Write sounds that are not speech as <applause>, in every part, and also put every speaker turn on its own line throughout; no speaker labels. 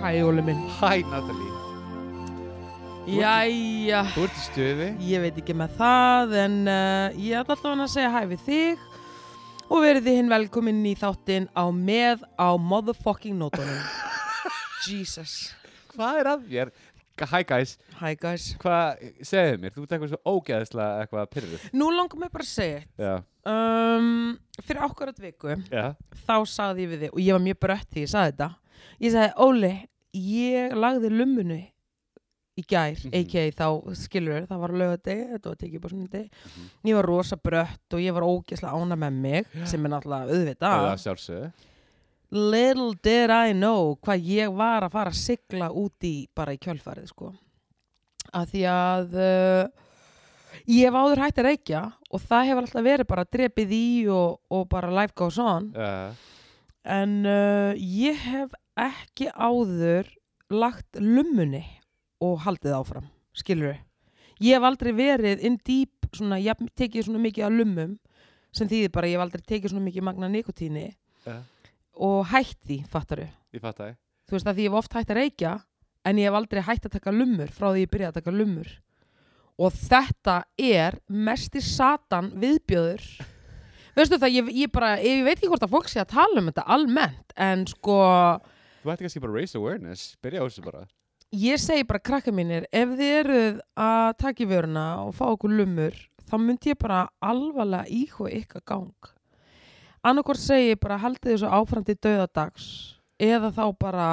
Hæ, Óli minn.
Hæ Natalie,
Jæja,
þú ert í stöfi
ég veit ekki með það, en uh, ég ætla alltaf að segja hæ við þig og verið þið hinn velkomin í þáttinn á með á motherfucking <laughs> nótunum. Jesus.
Hvað er að þér? Hæ guys,
Hi guys.
hvað, segðu mér, þú ert eitthvað svo ógeðslega eitthvað pyrruð
Nú langar mig bara að segja eitt.
Já,
um, fyrir akkurat viku
já,
þá sagði ég við þig og ég var mjög brött því ég sagði þetta ég sagði Óli, ég lagði lummunu í gær
Mhm.
a.k.a. þá skilur það var lögadegi, þetta var tekið bara svona degi ég var rosa brött og ég var ógeðslega ána með mig sem er náttúrulega
það
auðvitað
er sjálfsögðu
little did I know hvað ég var að fara að sigla út í bara í kjölfarið sko að því að uh, ég var áður hægt að reykja og það hefur alltaf verið bara drepið í og, og bara life goes on
Já,
en uh, ég hef ekki áður lagt lummunni og haldið áfram, skilur ég hef aldrei verið in deep svona, ég hef tekið svona mikið af lummum sem þýðir bara, að ég hef aldrei tekið svona mikið magna nikotíni
Já.
og hætt því, fattar þau
ég fatt það
þú veist að því ég hef oft hætt að reykja en ég hef aldrei hætt að taka lummur frá því ég byrjaði að taka lummur og þetta er mesti satan viðbjöður veistu það, ég, ég bara ég veit ekki hvort að fólk sé að tala um þetta almennt en sko,
Þú ætti kannski bara að raise awareness, byrja á þessu bara
ég segi bara krakka mínir, ef þið eruð að taka í vöruna og fá okkur lummur þá myndi ég bara alvarlega íhuga ykkar gang annarkvort segi ég bara haldið þessu áfram til döðadags eða þá bara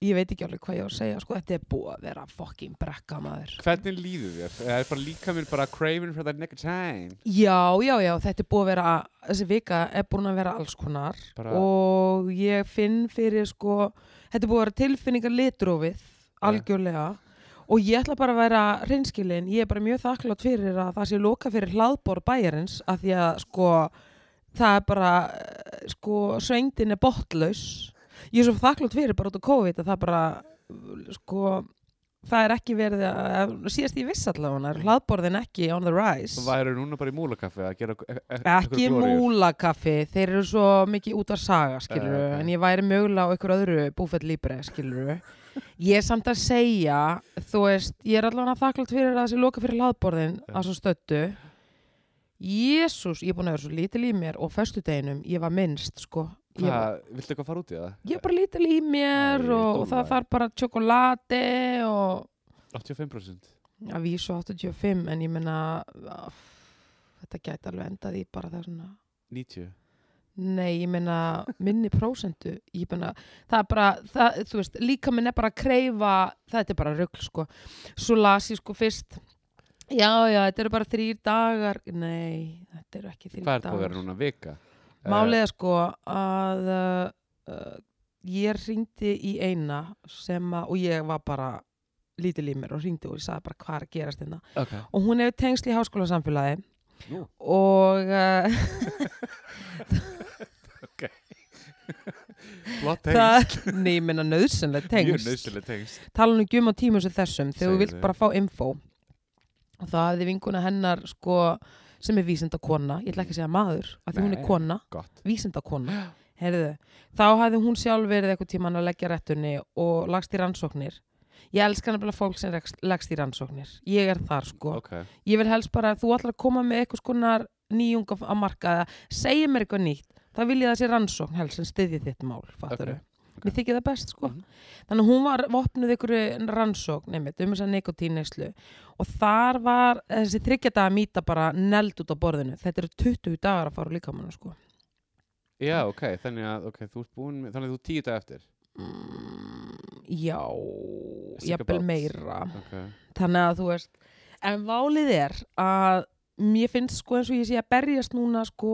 ég veit ekki alveg hvað ég á að segja sko, þetta er búið að vera fucking brekka maður
Hvernig líður þér? Það er bara líka mér bara craving for that next time
já, já, já, þetta er búið að vera þessi vika er búin að vera alls konar
Bara-
og ég finn fyrir sko, þetta er búið að vera tilfinningar litrófið, algjörlega og ég ætla bara að vera reynskilin ég er bara mjög þakklátt fyrir að það sé loka fyrir hlaðbor bæjarins af því að sko, það er bara eh, sko, svengdin er botlaus ég er svo þakklátt fyrir bara út á COVID að það bara sko, það er ekki verið að, síðast ég viss allavega er hlaðborðin ekki on the rise
Þú væri núna bara í múlakaffi að gera e- e-
ekki
einhverjar glóríur.
múlakaffi þeir eru svo mikið út að saga skilur
Eh, ok.
en ég væri mögulega á ykkur öðru búfett líbre skilur ég er samt að segja þú veist, ég er allavega þakklátt fyrir að þessi loka fyrir hlaðborðin
Já.
að svo stöttu Jésús, ég er búin að vera svo lítil í mér og föstudeginum, ég var minnst sko ég var
Hvað, viltu eitthvað fara út í það?
ég er bara lítil í mér og,
Æ,
og
dómari.
það þarf bara tjokolati og
85%
að vísu 85 en ég menna þetta gæti alveg endað í bara það svona
90
Nei, ég meina minni prósendu ég meina, það er bara það, þú veist, líka minn er bara að kreifa þetta er bara rugl, sko svo las ég sko fyrst já, já, þetta eru bara þrýr dagar nei, þetta eru ekki
Hvað
þrýr
er það að
dagar
vera núna Eh. vika?
málið er sko að uh, uh, ég ringdi í eina sem að, og ég var bara lítil í mér og ringdi og ég sagði bara hvað er að gerast hérna
Eh, ok.
og hún hefur tengsl í háskólasamfélagi
Nú.
og uh,
Flott tengst
<laughs> það, nei, ég meina nöðsynlega
Mjög
tengsl
nöðsileg tengst
tala nú ekki um á tímum sem þessum þegar þú
Segðu.
vilt bara fá info og það hefði vinkuna hennar sko, sem er vísindakona, ég ætla ekki að segja maður af því hún er
Nei.
kona,
Gott <gasps>
vísindakona Heyrðu, þá hefði hún sjálf verið eitthvað tíman að leggja réttunni og lagst í rannsóknir ég elska nefnilega fólk sem rekst- leggst í rannsóknir ég er þar sko
Ok
ég vil helst bara að þú ætlar að koma með eitthvað skonar nýjung á markaða segja mér eitthvað nýtt, þá vil ég það sé rannsókn helst sem styðji þitt mál, fattar
ok.
mér þykir það best sko
Mhm.
þannig að hún var vopnuð ykkur rannsókn einmitt, um þess að nikotíneislu og þar var þessi þryggjadaga mýta bara neld út á borðinu þetta eru 20 dagar að fara líka mann sko
Já, ok, þannig að ok, þú ert búin með, þannig að þú er tíu dag eftir
mm, já,
Think
jafnvel
about.
meira
Ok
þannig að þú veist en válið er að mér finnst sko eins og ég sé að berjast núna sko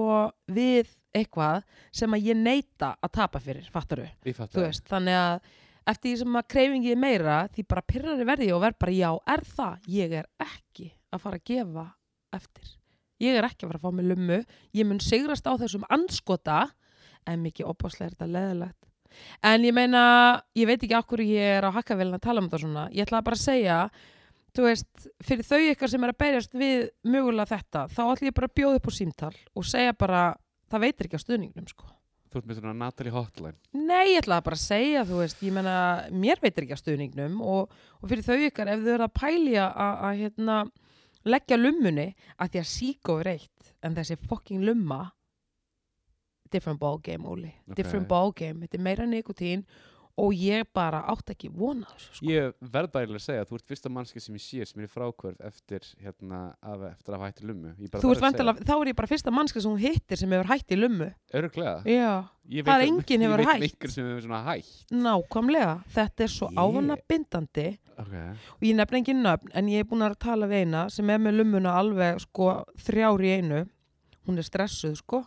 við eitthvað sem að ég neita að tapa fyrir fattaru,
Ég fatt
þú veist, þannig að eftir því sem að kreyfingi er meira því bara pyrrari verði ég og verð bara já er það, ég er ekki að fara að gefa eftir, ég er ekki að fara að fá mig lummu, ég mun sigrast á þessum anskota en mikið opaslega er þetta leðilegt En ég meina, ég veit ekki okkur ég er á hakkavélina að tala um þetta svona. Ég ætlaði bara að segja, þú veist, fyrir þau ykkar sem er að berjast við mögulega þetta, þá ætla ég bara að bjóða upp á símtal og segja bara, það veitir ekki á stuðningnum, sko.
Þú ert með svona Natalie Hotline.
Nei, ég ætlaði bara að segja, þú veist, ég meina, mér veitir ekki á stuðningnum og, og fyrir þau ykkar, ef þau eru að pælja að, að hérna, leggja lummunni, að því að síkó er eitt, en þessi fucking lumma, different ballgame, Óli, different
Ok.
ballgame, þetta er meira nikotín og ég bara átt ekki vona þessu, sko.
Ég verð bara eiginlega að segja að þú ert fyrsta mannski sem ég sér sem er í frákvörð eftir, hérna, af, eftir að hafa hætti lummu. Ég bara
Þú ert
þarf að segja-
vandalega, þá er ég bara fyrsta mannska sem hún hittir sem hefur hætt í lummu.
Örugglega.
Já,
Ég
Það
veit
er
um-
enginn hefur
Ég veit um
hætt.
ykkur sem hefur svona hætt.
nákvæmlega. Þetta er svo
Ég-
ánabindandi
Ok.
og ég nefn engin nöfn en ég er búin að tala við eina sem er með lummuna alveg sko þrjár í einu hún er stressuð sko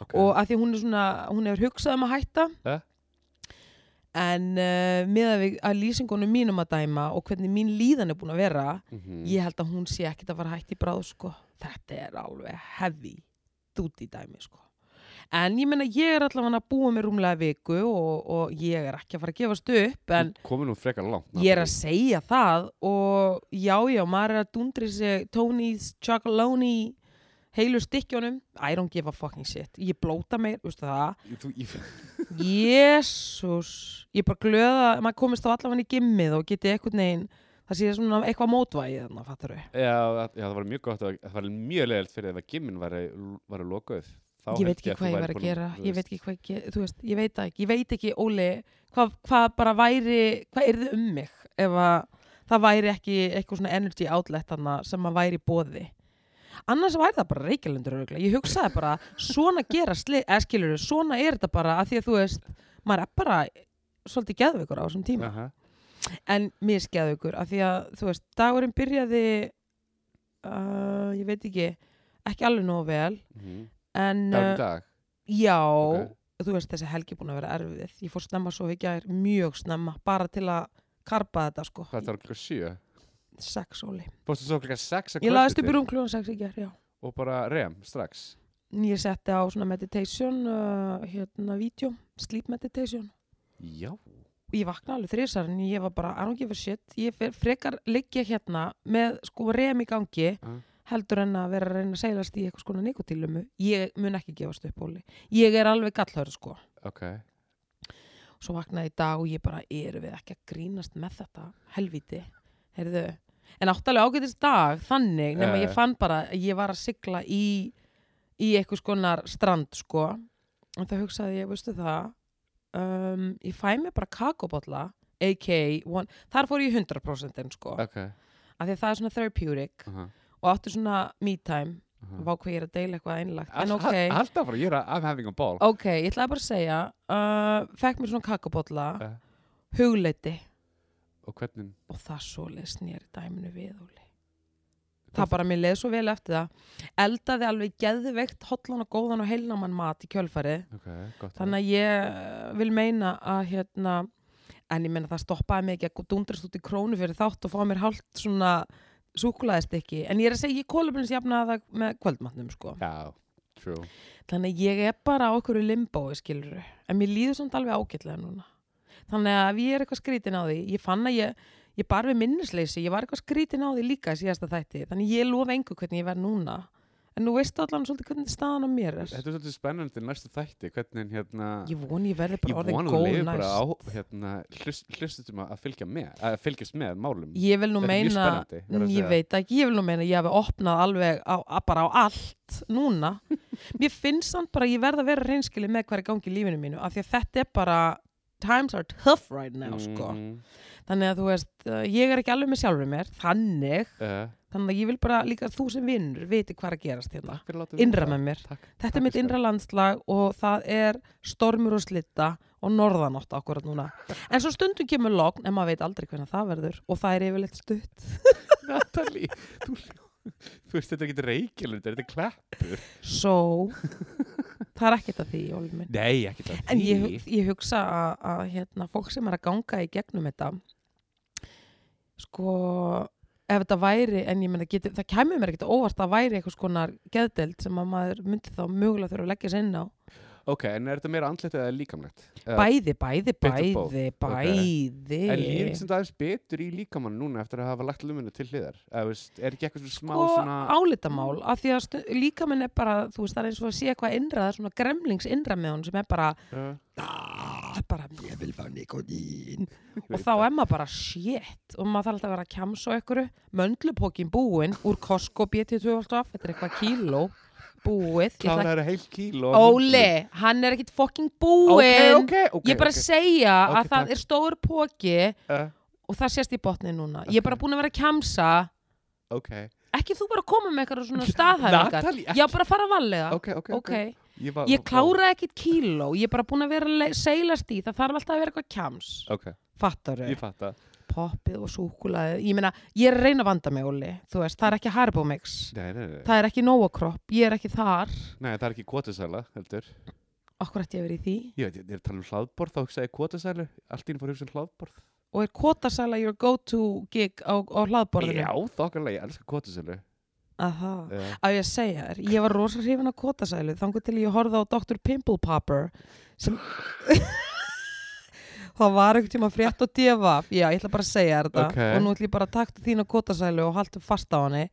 ok.
og að því hún er svona, hún hefur hugsað um að hætta
Ja.
en uh, með að, við, að lýsingunum mínum að dæma og hvernig mín líðan er búin að vera
Mhm.
ég held að hún sé ekkit að fara hætt í bráð sko þetta er alveg heavy dúti dæmi sko en ég meina ég er allavega að búa með rúmlega viku og, og ég er ekki að fara að gefast upp en
Þú komið nú frekar langt.
Ég er að segja það og já, já, maður er að dundri sig Tony's Chocolonely heilu stykkjónum. I don't give a fucking shit. Ég blóta mér, veistu það.
Natalie. Þú, ég,
Jésús. Ég er bara glöða að maður komist á allavega í gimmið og geti eitthvað neginn. Það sé svona eitthvað mótvægið þannig, fattur við.
já, það- já, það var mjög gott. að- Það var mjög leðilt fyrir ef að gimmin var, var að lokaðið.
Ég veit ekki hvað ég var að gera. Ég veit ekki hvað ég gera. Þú veist, ég veit það ekki. Ég veit ekki, Óli, hvað, hvað bara væri, hvað er um mig ef að það væri ekki eitthvað svona energy outlet þarna sem að væri í bóði. Annars væri það bara reykjalundur örgulega. Ég hugsaði bara, svona gera sli- eða skilur, svona er þetta bara að því að þú veist, maður er bara svolítið geðveikur á þessum tíma.
Aha.
En misgeðveikur af því að, þú veist, dagurinn byrjaði, uh, ég veit ekki, ekki alveg nógu vel,
Mhm.
en...
Það er
uh,
í dag.
Já,
Ok.
þú veist þessi helgi er búin að vera erfið. Ég fór snemma svo í gær, mjög snemma, bara til að karpa þetta sko.
Hvað það var klukka sjö?
Sex óli.
Bóstu svo klukka sex að
Ég laðist upp í
kvöldi
rúm kljóðan sex í gær, já.
Og bara rem, strax.
Ég setti á svona meditation, uh, hérna, vídeo, sleep meditation.
Já.
Og ég vaknaði alveg þrísar en ég var bara, I don't give a shit. Ég fer, frekar liggja hérna með sko rem í gangi
Ah.
heldur en að vera að reyna að seilast í eitthvað skona nikotílumu. Ég mun ekki gefast upp, óli. Ég er alveg gallhörð sko.
Ok.
svo vaknaði í dag og ég bara erum við ekki að grínast með þetta helviti, heyrðu en áttalega ágætist dag, þannig nema
Já,
ég
já.
fann bara að ég var að sigla í í eitthvað skonar strand sko, og það hugsaði ég, veistu það um, ég fæ mér bara kakobotla a.k.a. one- þar fór ég í 100% sko,
Ok. Mm.
af því að það er svona therapeutic
Aha,
og áttu svona me time
aha.
vá hvað ég er að deila eitthvað einlagt en
Al-
ok, Oh.
al- Haltu áfram, ég er að I'm having a ball.
ok, ég ætlaði bara að segja uh, fekk mér svona kakobotla
Eh.
hugleiti
Og hvernig?
og það svo leið snýri dæminu við Óli. Það bara mér leið svo vel eftir það. Eldaði alveg geðveikt hotlan og góðan og heilnamann mat í kjölfarið.
Ok, gott.
Þannig að ég eh, vil meina að hérna, en ég meina það stoppaði mig ekki að dundrast út í krónu fyrir þátt og fá mér hálft svona súkulaðist ekki. En ég er að segja, ég kólabins jafna það með kvöldmatnum sko.
Já, true.
Þannig að ég er bara á okkur limbói skiluru. En mér líður samt alveg ágætlega núna. Þannig að ef ég er eitthvað skrítin á því, ég fann að ég, ég bar við minnisleysi, ég var eitthvað skrítin á því líka í síðasta þætti. Þannig að ég lofa engu hvernig ég verð núna. En nú veistu allan svolítið hvernig staðan á mér er.
Þetta er svolítið spennandi næstu þætti, hvernig hérna...
Ég von ég verði
ég
bara orðin
vona að þú
góð
lifir bara á,
næst.
hérna, hlust, hlustutum að fylgja með, að fylgjast með málum.
Ég vil nú
Þetta er mjög
meina, Mm,
spennandi, verð að
ég
segja.
veit ekki, ég vil nú meina að ég hafi opnað alveg á, að bara á allt
<laughs>
núna. Mér finnst samt bara að ég verð að vera reynskili með hvað er í gangi í lífinu mínu af því að þetta er bara, times are tough right now, sko.
Mhm.
Þannig að þú veist, uh, ég er ekki alveg með sjálfur mér, þannig,
Eh,
þannig að ég vil bara líka að þú sem vinnur viti hvað er að gerast hérna.
Takk fyrir að láta
Innra
vita.
með mér.
Takk, <laughs>
Þetta
takk
er mitt
elskan.
innra landslag og það er stormur og slitta og norðanátt akkurat
<laughs>
núna. En svo stundum kemur logn en maður veit aldrei hvernig það verður og það er yfirleitt stutt.
Natalie, þú, <laughs> þú veist þetta er ekkert reykjulund, þetta er klappur.
So, það er ekkert að því, Óli minn.
Nei, ekki það.
En ég, hug- ég hugsa að, að hérna, fólk sem er að ganga í gegnum þetta, sko, ef þetta væri, en ég meina, geti, það kæmi mér ekkert á óvart að það væri eitthvað skonar geðdelt sem að maður myndi þá mögulega þurfa að leggja sér inn á.
ok, en er þetta meira andlegt eða líkamlegt? Eða-
Bæði, bæði,
Bit of both,
bæði,
ok.
bæði
En líður sem það er betur í líkamann núna eftir að hafa lagt luminu til hliðar? Eða, veist, er ekki eitthvað svona smá
sko
svona...
álitamál af því að stu, líka minn er bara þú veist það er eins og að sé eitthvað innra það er svona gremlings innra með hún sem er bara,
Uh,
bara ég vil fá nikotín
veit
og þá er maður bara shit og maður þarf alltaf að vera að kjamsa á einhverju möndlupókin búin úr Costco BT2 alltaf, þetta er eitthvað kíló búið, ég ætla
klára eru heil kíló. af möndlum.
Óli, hann er ekkit fucking búinn
Ok, ok, ok.
Ég er bara að
ok.
segja
Ok,
að það
takk.
er stór póki
Uh,
og það sést í botni núna Ég er bara
Ok.
búin að vera að kjamsa
ok.
Ekki þú bara að koma með
<laughs>
eitthvað svona staðhæfingar
Natalie,
Ég er bara að fara að valega
Ok, ok, ok. Ég, var,
Ég kláraði ekkit kíló Ég er bara búin að vera að le- seilast í Það þarf alltaf að vera eitthvað kjams
Ok,
Fattar
ég fatt að.
Poppið og súkulaðið Ég meina, ég er að reyna að vanda mig, Óli Þú veist, það er ekki Haribo mix
Nei, nei, nei.
Það er ekki Novacrop Ég er ekki þar
Nei, það er ekki kvotasæla, heldur.
Akkur ætti ég að vera í því
Ég veit, ég er að tala um hlaðborð, þá hugsa ég kvotasælu. Allt í einu fór að hugsa um hlaðborð.
og er kvotasæla your go-to gig á, á hlaðborðinu?
Já, þokkarlega, ég elska kvotasælu.
Aha.
Uh,
Á ég að segja þér, ég var rosa hrifin á kvotasælu þangur til ég horfði á Dr. Pimple Popper sem <laughs> það var einhvern tíma frétt og divaf, já ég ætla bara að segja þér þetta
Ok.
og nú ætla ég bara að takta þína kvotasælu og haltu fast á henni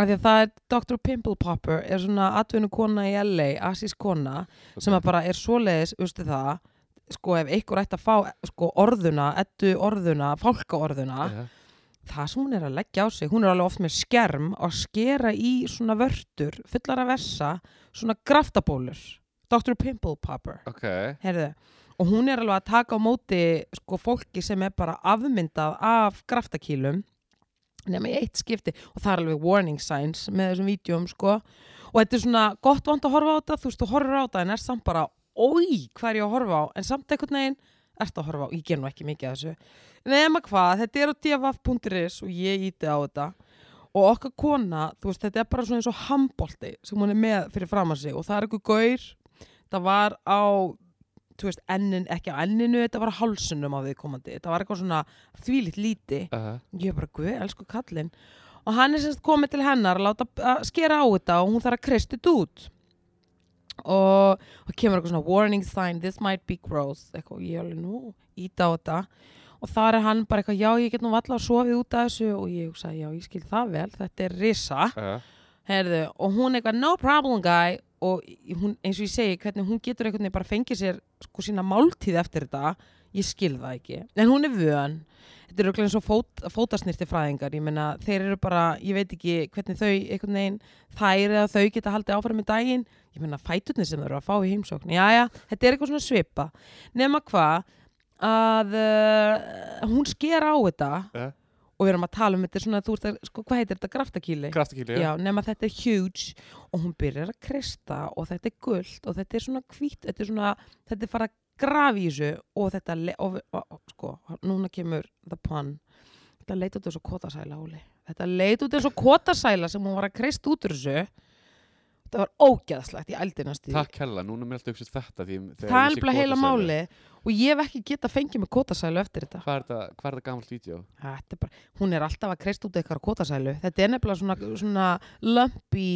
af því að það er Dr. Pimple Popper er svona atvinnu kona í LA asís kona sem að bara er svoleiðis, veistu það sko ef einhver ætti að fá sko, orðuna, ettu orðuna, fálka orðuna það sem hún er að leggja á sig, hún er alveg oft með skerm og skera í svona vörtur fullar að vessa, svona graftabólur Dr. Pimple Popper
Ok, Uh-huh,
heyrðu, og hún er alveg að taka á móti sko fólki sem er bara afmyndað af graftakílum nema í eitt skipti og það er alveg warning signs með þessum vídjum sko og þetta er svona gott vond að horfa á þetta þú veist, þú horfir á þetta en er samt bara oi, hvað er ég að horfa á, en samt einhvern veginn ert að horfa á, ég ger nú ekki mikið að þessu nema hvað, þetta er á dfaf.is og ég íti á þetta og okkar kona, þú veist, þetta er bara svona eins og handbolti sem hún er með fyrir fram að sig og það er einhver gaur, það var á þú veist, ennin, ekki á enninu þetta var á hálsunum á viðkomandi þetta var eitthvað svona þvílitt líti
uh,
ég er bara, guð, elsku kallinn og hann er semst komið til hennar að láta að skera á þetta og hún þarf að kristi þetta út og það kemur eitthvað svona warning sign, this might be gross eitthvað, og ég alveg nú, íta á þetta og þar er hann bara eitthvað, já, ég get nú valla að sofið út af þessu og ég hugsa, já, ég skil það vel, þetta er risa
uh,
Herðu, og hún eitthvað no problem guy og í- hún, eins og ég segi hvernig hún getur einhvern veginn bara fengið sér sko sína máltíð eftir þetta ég skil það ekki, en hún er vön þetta eru örugglega eins og fót, fótasnirti fræðingar ég meina þeir eru bara, ég veit ekki hvernig þau einhvern veginn þær eða þau geta haldið áfram í daginn ég meina fæturnir sem þau eru að fá í heimsókn jæja, þetta er eitthvað svona svipa nema hvað að uh, hún sker á þetta
Ja.
og við erum að tala um þetta er svona, þú veist að, sko, hvað heitir þetta, graftakíli
Kraftakýli,
Já, nema þetta er huge og hún byrjar að krista og þetta er gullt og þetta er svona hvít, þetta er svona, þetta er fara að grafi í þessu og þetta, le- og, og, og sko, núna kemur the pun, þetta leit út eins og kotasæla, Óli. Þetta leit út eins og kotasæla sem hún var að krist út úr þessu. Þetta var ógeðslegt í eldinast í.
Takk hella, núna er mér alltaf hugsað þetta því,
Það
þegar
er
ég sé
alveg heila
kotasælu.
máli og ég hef ekki getað fengið með kotasælu eftir þetta.
Hvað er þetta, hvað er þetta gamalt vídeo?
Þetta er bara, hún er alltaf að kreist út eitthvað á kotasælu. Þetta er nefnilega svona, svona lömpi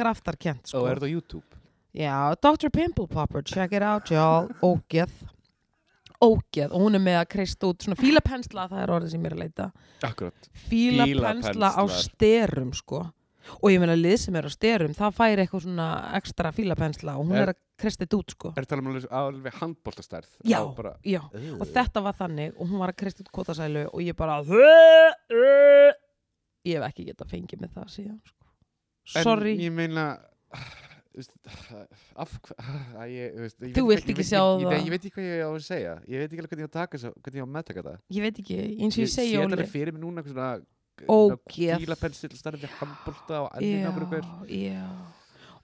graftarkent. Sko.
Og er þetta á YouTube?
Já, Dr. Pimple Popper, check it out y'all, ógeð ógeð og hún er með að kreist út svona fílapensla, það er orðið sem ég er að leita
Akkurat.
fílapensla á
Fílapenslar.
styrum sko og ég meina lið sem er á styrum það fær eitthvað svona ekstra fílapensla og hún er,
Er-
að kreist þetta út sko
Er þetta alveg, alveg handbóltastærð?
Já.
Á Bara,
Já, og þetta var þannig og hún var að kreist út kotasælu og ég bara ég hef ekki getað fengið með það síðan sko.
En
Sorry,
Ég meina, þú veist, af hvað, ég, þú veist, ég
Þú
veit
vilt
ég
ekki
veit-
sjá
ég-
það.
Ég, ég veit ekki hvað ég á að segja. Ég veit ekki alveg hvernig ég á að taka þess hvernig ég á að meðtaka það.
ég veit ekki eins og ég segi
sé
Óli
alveg fyrir mig núna eitthvað svona,
Ógeð.
Fílapensil starfið handbólta og ennina okkur okkur.
já, já.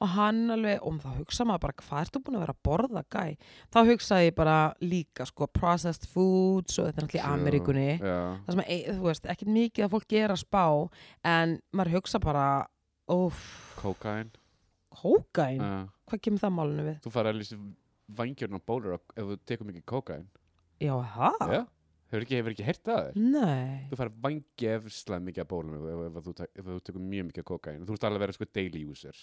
og hann alveg, og þá hugsa maður bara hvað ertu búin að vera að borða gæ þá hugsaði ég bara líka sko processed foods og þetta er náttúrulega í Ameríkunni
Já.
það sem, að, e- þú veist, ekkert mikið að fólk gera spá en maður hugsa bara óf,
Kókain.
kókain
Já.
hvað kemur það málunum við?
Þú farið að lýsa vangjörn á bólur ef þú tekur mikið kókain.
Já, það?
Já. Hefur ekki, hefur ekki heyrt það þér?
Nei,
Þú fær vangi efslega mikið að bólum ef, ef, ef, þú tek- ef þú tekur mjög mikið kókain. Þú ert alveg að vera sko daily user.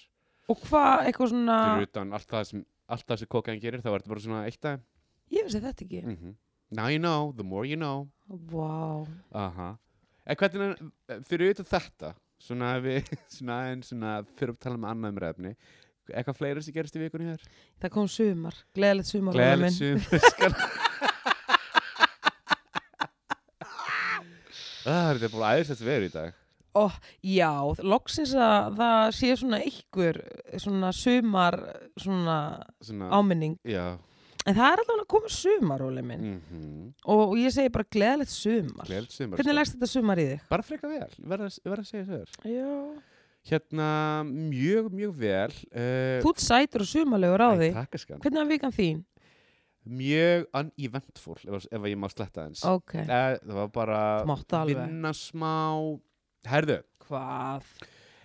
Og hvað, eitthvað svona,
fyrir utan allt það sem allt það sem kokain gerir, þá er þetta bara svona eitt dag
ég vissi þetta ekki.
mm now you know, the more you know
Vá.
aha en hvernig, er- fyrir utan þetta svona ef við, <laughs> svona en svona fyrir að tala með annað um reyfni eitthvað fleira sem gerist í vikunni hér
Það kom sumar, gleðilegt sumar. Óli
gleðilegt
minn.
sumar skal <laughs> Ah, þetta er bara aðeins að vera í dag
Já, loksins að það sé svona einhver svona sumar svona
svona,
áminning.
já
En það er allavega að koma sumar, Óli minn.
mm
Og, og ég segi bara gleðilegt sumar.
gleðilegt sumar
Hvernig
sko.
leggst þetta sumar í þig?
bara frekar vel, verða verð að segja þess
Já.
hérna, mjög, mjög vel uh,
Þú ert sætur og sumarlegur á því.
Takkaskan.
Hvernig var vikan þín?
Mjög uneventful, ef, ef ég má sletta eins.
Ok,
það var bara
mátt alveg.
vinna smá. Herðu,
Hvað?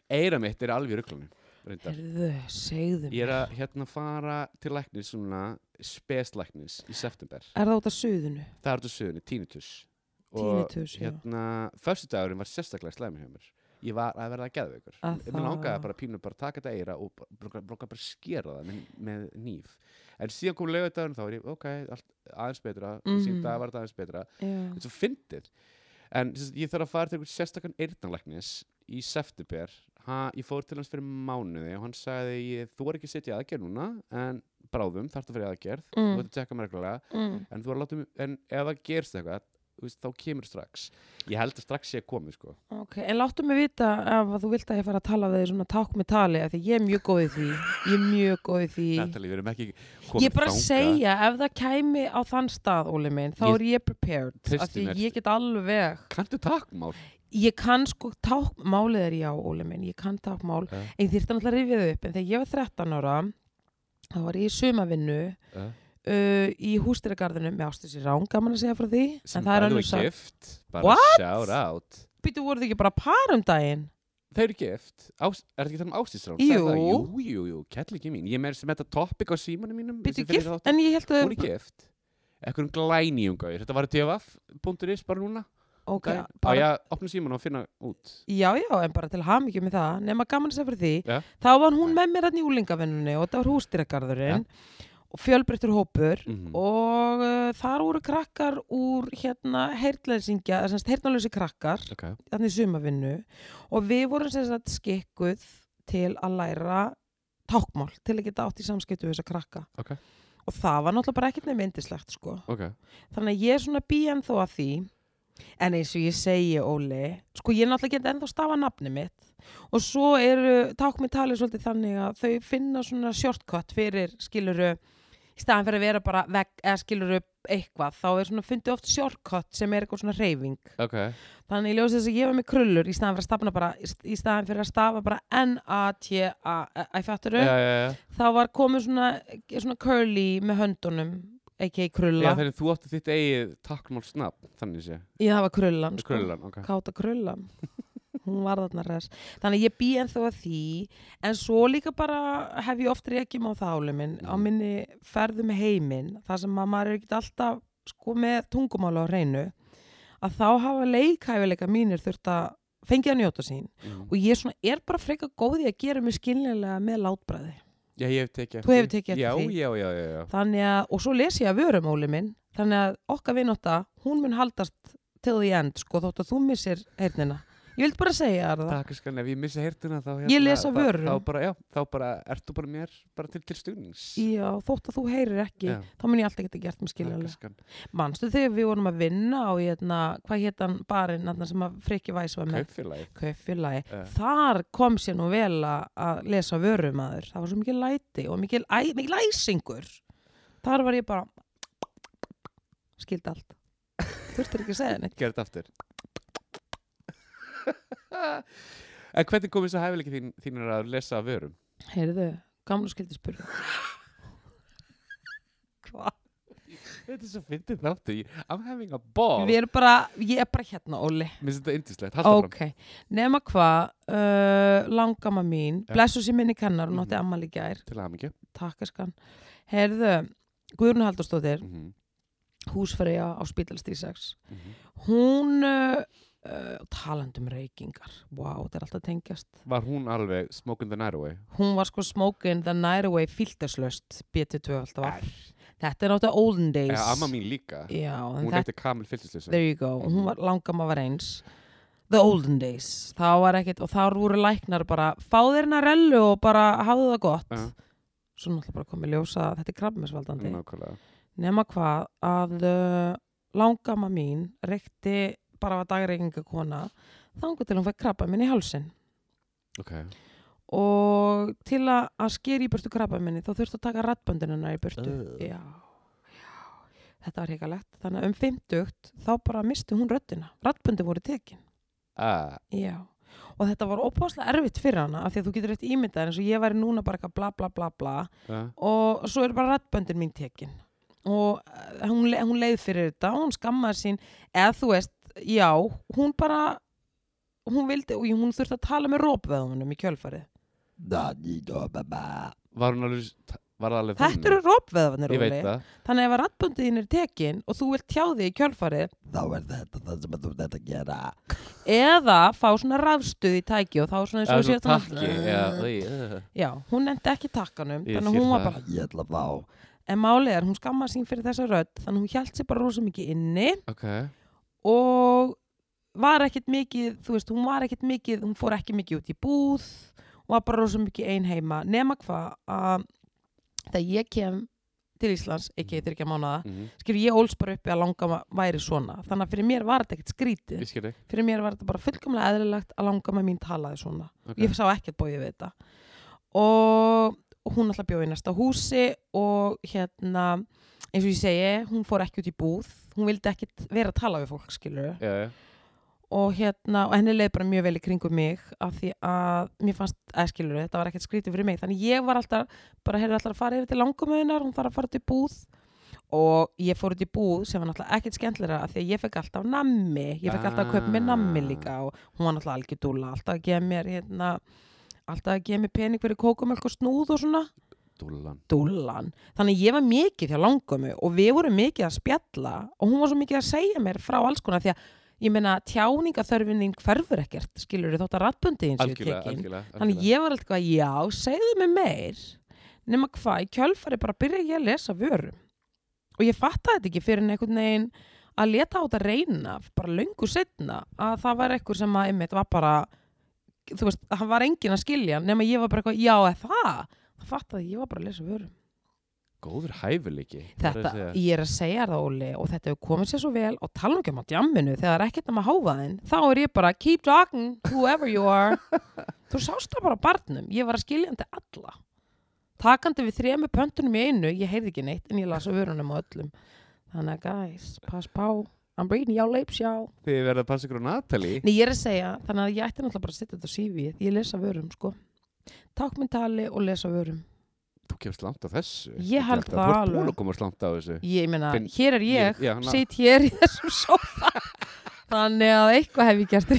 eira mitt er alveg í rugglunum. Reyndar.
Herðu, segðu mér.
Ég er að hérna fara til læknis svona speslæknis í september.
Er það út af suðunu?
Það er þetta sögunni, tínitus.
Tinnitus, já.
hérna, föstudagurinn var sérstaklega slæmi hjá mér. Ég var að verða að geða ykkur.
Að
Mér langaði
það-
bara pínu bara að taka þetta eira og bara, bara, bara skera það með, með nýf. En síðan kom laugardagurinn þá er ég, ok, allt, aðeins betra.
Mhm.
Síðan dag var þetta aðeins betra.
Já.
þetta er svo fyndið en sem sagt, ég þarf að fara til einhvern sérstakann eyrnalæknis í september ha, ég fór til hans fyrir mánuði og hann sagði ég, þú er ekki að setja í aðgerð núna en bráðum þarftu að fyrir aðgerð þú
Mm,
ert að tekka mér reglulega
mm.
en, þú er að láta mig- en ef það gerst eitthvað þú veist, þá kemur strax ég held að strax sé að komi sko.
Ok, en láttu mig vita ef að þú vilt að ég fara að tala við þig svona takk með tali af því ég er mjög góð í því ég er mjög góð í því
Natalie, við erum ekki komið
Ég er bara að segja ef það kæmi á þann stað, Óli minn, þá
Ég-
er ég prepared af
Treysti
því
mér.
ég get alveg
kanntu takkmál
Ég kann sko tákmálið er já, Óli minn, ég kann tákmál
Ja.
en ég þyrfti náttúrulega að rifja það upp en þegar ég var 13 ára þá var ég í sumavinnu
uh,
uh, í hústýragarðinu með ástu sér rán, gaman að segja frá því
sem
en það er
bæði
alveg
og
sagt,
gift bara shout out
býtu voruð ekki bara par um daginn
Þau eru gift, Ás, er þetta ekki að tala um ástísrán?
Jú.
Jú, jú, jú, kellingi mín. Ég er meira sem þetta topic á símanum mínum.
Býtu gift, en ég held að
Hún er gift. Ekkur um glænýjunga. Þetta var tvf.is bara núna.
Ok, um
Daginn. Á
bara,
ég að opna síman og finna út.
já, já, en bara til hamingju með það, nema gaman að segja fyrir því,
Ja.
þá var hún með mér að njúlingavinnunni og þetta var hústýragarðurinn og fjölbreyttur hópur
Mhm.
og uh, þar voru krakkar úr hérna heyrnleysingja, semst heyrnleysi krakkar,
Ok.
þannig sumavinnu og við vorum sem sagt skikkuð til að læra tákmál, til að geta átt í samskiptu við þessa krakka.
Ok.
Og það var náttúrulega bara ekkert nefn indislegt, sko.
Ok.
þannig að ég er svona bíjan þó að því en eins og ég segi Óli sko ég náttúrulega get ennþá stafa nafni mitt og svo eru takk mér talið svolítið þannig að þau finna svona shortcut fyrir skiluru í staðan fyrir að vera bara veg, eða skiluru eitthvað þá er svona fundið oft shortcut sem er eitthvað svona reyfing
Ok.
þannig að ég ljósi þess að ég var með krullur í staðan fyrir að stafna bara í staðan fyrir að stafa bara N-A-T-A-I fatturu
Já, já, já.
e, þá var komið svona, svona curly með höndunum a.k.a. krulla
Já, þannig þú átti þitt eigið takkmálsnafn, þannig sé.
Já, það var krullan, sko.
Krullan, ok.
Káta krullan. Hún var þarna res. Þannig að ég bý ennþá að því, en svo líka bara hef ég oft reykjum á það áli minn, á
Mhm.
minni ferðu með heiminn, þar sem að maður er ekkert alltaf sko með tungumála á hreinu, að þá hafa leikhæfileika mínir þurft að fengið að njóta sín.
Mm.
Og ég svona er bara freka góði að gera mig skiljanlega með látbræði.
Já, ég hef tekið eftir.
Þú hefur tekið eftir
já,
því.
Já, já, já, já.
Þannig að, og svo les ég að vörum óli minn, þannig að okkar vinóta, hún mun haldast til því end, sko, þótt að þú missir heyrnina. Ég vildi bara segja þér það.
Takkaskan, ef ég missi heyrtuna þá... Hérna,
Ég les af
þá-
vörum.
Þá bara, já, þá bara, ert þú bara mér bara til, til stuðnings.
Já, þótt að þú heyrir ekki,
Já.
þá mun ég alltaf geta gert mig skiljanlega.
Takkaskan.
Manstu þegar við vorum að vinna á, hérna, hvað hétt hann barinn, hérna sem að Frikki Væs var með?
Kaupfélagið.
Kaufélagi.
Já.
Þar kom sér nú vel að- að lesa vörum aður. Það var svo mikil læti og mikil, æ, mikil æsingur. Þar var ég bara, skildi allt. Þurftir ekki að segja neitt.
Gerð þetta aftur <laughs> En hvernig kom þess að hæfileiki þín, þínir að lesa af vörum?
Heyrðu, gamla skildi spurði Hva?
Þetta er svo fyndið þáttu I'm having a ball
Við erum bara, ég er bara hérna, Óli
Mér finnst þetta yndislegt, halda
Ok, nema hvað uh, langamma mín,
Já.
blessu sér minni kennar hún átti
Mhm.
ammali gær,
fram Til að mikið
takkaskan Heyrðu, Guðrún
Mhm.
Haldurstóttir
mm -hmm. Mhm.
húsfreyja á Spítalstíð 6 hún uh, uh, talandum reykingar wow, þetta er alltaf tengjast
Var hún alveg smoking the night away?
hún var sko smoking the night away filterslöst BT2 alltaf var.
Er.
þetta er náttúrulega olden days
Eða amma mín líka.
já, en
Hún
þetta,
reyndi Kamil Filtisleysa.
there you go Mm-hmm. og hún var langamma var eins the olden days, þá var ekkert og þá voru læknar bara, fá þér hennar rellu og bara hafðu það gott
Já.
svo náttúrulega bara komið ljósa að þetta er krabbmessvaldandi
Nákvæmlega.
nema hvað að uh, langamma mín reykti bara var dagreikingakona þangu til hún fæk krabba minn í hálsin
Ok.
og til að, að skeri í burtu krabba minni þá þurfti að taka rattböndununa í burtu
Ugh.
já, já, þetta var hrikalegt þannig að um 50 þá bara misti hún röddina rattböndi voru tekin
Ah,
já og þetta var ópáslega erfitt fyrir hana af því að þú getur eftir ímyndað þér eins og ég væri núna bara eitthvað bla bla bla bla
uh,
og svo er bara rattböndin mín tekin og eh, hún, le- hún leið fyrir þetta og hún skammaði sín eða þú veist, já, hún bara hún vildi, og hún þurfti að tala með rópveðunum í kjölfarið
var hún alveg, var það alveg
þetta eru rópveðunir,
Ég veit
Óli
það.
þannig að ef að rattböndin þín er tekin og þú vilt tjá þig í kjölfarið
Þá er þetta það sem þú þetta gera.
eða fá svona rafstuð í tæki og þá svona eins og
Það er svona
svona-
takki. Já, því, uh.
já, hún nefndi ekki takkanum
Ég
þannig að
sé
hún var
það.
bara,
Ég ætla að fá.
en málið er hún skammaði sín fyrir þessa rödd, þannig að hún hjælt sér bara rosa mikið inni
Ok.
og var ekkert mikið, þú veist, hún var ekkert mikið, hún fór ekki mikið út í búð og var bara rosa mikið ein heima nema hvað að þegar ég kem til Íslands, ekki þegar ekki að mánaða,
Mm
skilur ég ólst bara uppi að langa væri svona, þannig að fyrir mér var þetta ekkert skrítið,
Ég skil þig.
fyrir mér var þetta bara fullkomlega eðlilegt að langa mín talaði svona
Ok.
ég sá ekkert bóið við þetta og og hún alltaf bjóði í næsta húsi og hérna eins og ég segi, hún fór ekki út í búð hún vildi ekkert vera að tala við fólk skilur
Já, já.
og hérna, og henni leið bara mjög vel í kringum mig af því að mér fannst, að skilur þetta var ekkert skrítið fyrir mig, þannig ég var alltaf bara heyrði alltaf að fara yfir til langumöðunar hún þarf að fara út í búð og ég fór út í búð sem var náttúrulega ekkert skemmtilega af því að ég fekk alltaf nammi ég fekk alltaf að kaupa mér nammi
Ah.
líka og hún var náttúrulega algjör dúlla, alltaf að gefa mér hérna, alltaf að gefa mér pening fyrir kókumölk og snúð og svona
Dúllan.
dúllan þannig að ég var mikið hjá langumu og við vorum mikið að spjalla og hún var svo mikið að segja mér frá alls konar því að ég meina tjáningaþörfinning hverfur ekkert skilur þótt að ratbundið eins og
Algjörlega,
tekin
algjörlega.
þannig að ég var alltaf eitthvað, já, segðu mig meir nema hvað, í kjölfari bara byrja ég að lesa vörum og ég fattaði þetta ekki fyrir en einhvern veginn að leta á þetta reyna bara löngu setna að það var einhver sem að einmitt var bara þú veist, hann var enginn að skilja nema ég var bara eitthvað, já, eða það það fattaði ég, ég var bara að lesa vörum
Góður hæfileiki. verður
Þetta,
að segja.
ég er að segja það Óli og þetta hefur komið sér svo vel og tala nú ekki um á djamminu þegar það er ekkert um að háfa þinn þá er ég bara keep talking whoever you are þú sást það bara á barnum, ég var að skiljandi alla takandi við þremu pöntunum í einu, ég heyrði ekki neitt en ég las á vörunum á öllum þannig að guys, pass pá I'm reading your lips, já
Þið verða að passa ykkur á Natalie.
Nei, ég er að segja, þannig að ég ætti náttúrulega bara að setja þetta á CV ég lesa vörum, sko tákmyndtali og lesa vörum
Þú kemst langt á þessu.
Ég held
það.
það
Þú ert
alveg.
búin að koma langt á þessu.
ég meina,
Finn-
hér er ég,
Ég- já, ná-
sitt hér í þessum sófa þannig að eitthvað hef ég gert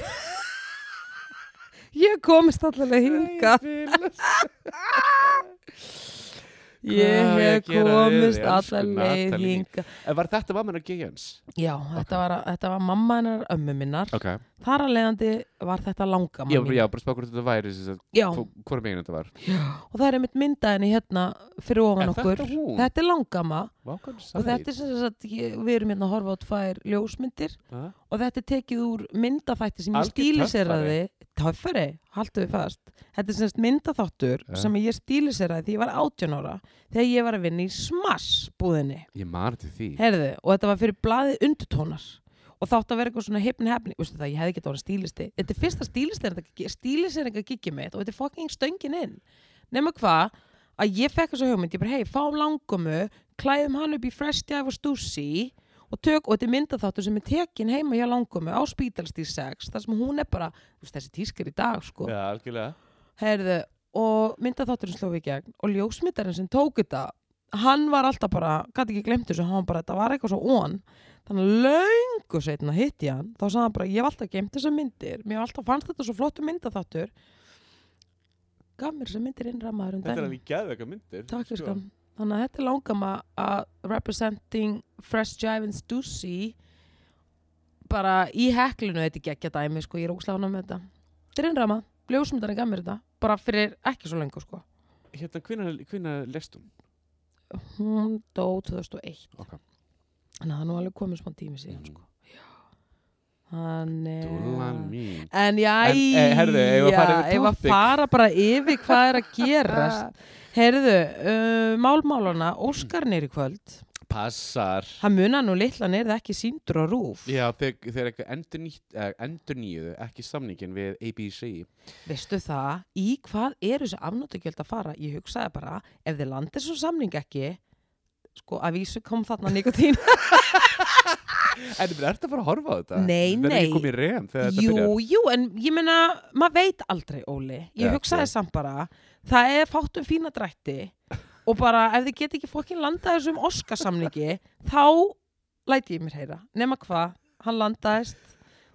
ég komist allavega hinga ég
Hvað á ég
hef
að gera við
komist
þig, elsku
allavega
Natalie?
hinga
En var þetta mamma hennar Gigjans?
já,
Ok.
þetta, var, þetta var mamma hennar ömmu minnar
Ok.
þar að leiðandi var þetta langa
Ég
mamma
var
mín.
já, bara að spá hvort þetta væri, sem sagt,
já,
hvo- hvora megin þetta var.
og það er einmitt myndað henni hérna fyrir ofan
Er þetta
okkur
hún?
þetta er langama
Vá, hvað er
og þetta er sem sagt, ég- við erum hérna að horfa á tvær ljósmyndir
sæt.
og þetta er tekið úr myndafætti sem ég
Algjör
stíliseraði töffari, haltu við fast þetta er semst myndaþáttur
Ja.
sem ég stíliseraði því ég var 18 ára þegar ég var að vinna í smass búðinni
Ég mani til því.
Herðu, og þetta var fyrir blaðið undertónar og þátt að vera eitthvað svona hefn hefni Vistu það, ég hefði getið að vera stílisti þetta er fyrsta stíliseringa stíliseringa gigið mitt og þetta er fucking stöngin inn nema hvað, að ég fekk þessu hugmynd ég bara, hei, fáum langumu klæðum hann upp í fresh dive og stúsi og tök, og þetta er myndaþáttur sem er tekin heima hjá langumu á spítalstíð 6 þar sem hún er bara, þú veist, þessi tískar í dag sko,
Já, algjörlega.
Heyrðu, og myndaþátturinn sló í gegn og ljósmyndarinn sem tók þetta hann var alltaf bara, gæti ekki glemt þessu hann var bara, þetta var eitthvað svo on þannig að löngu setna hitt ég hann þá sagði hann bara, ég hef alltaf geimt þessar myndir mér hef alltaf fannst þetta svo flottu myndaþáttur gaf mér þessar myndir innrammaður um daginn.
geðveika myndir. Sko,
Takk fyrir skan. Þannig að þetta er langama að representing Fresh Jive and Stussy bara í heklinu þetta er geggja dæmi sko, ég er óslána með þetta þetta er innrama, ljósmyndarinn gaf mér þetta bara fyrir ekki svo lengur sko
Hérna, hvenær- hvenær lest hún?
hún dó 2001
Ok.
þannig að það er nú alveg komið smá tími síðan
Mhm.
sko hann
Dúllan Mm. mín.
En já,
En, eh, heyrðu, eigum við að fara yfir
eigum við að
topic?
fara bara yfir hvað er að
<laughs>
gerast. Herðu, uh, málmálana, Óskarnir í kvöld,
Passar.
hann munar nú litla neyrið ekki síndur á rúf.
Já, þeir, þeir eitthvað endur, eh, endur nýjuðu, ekki samningin við ABC.
Veistu það, í hvað eru þessi afnóttugjöld að fara? Ég hugsaði bara, ef þið landið svo samning ekki, sko, að vísu kom þarna nikotín.
En þú ert að fara að horfa á þetta?
Nei,
Það er
nei.
ekki komið í rem <laughs> þegar þetta
jú,
byrjar.
jú, en ég meina, maður veit aldrei, Óli. Ég
Já,
hugsaði
ok.
samt bara, það er fátum fína drætti og bara ef þið get ekki fokkin landað þessum
<laughs>
Oscarsamningi, þá læti ég mér heyra. Nema hvað, hann landaðist,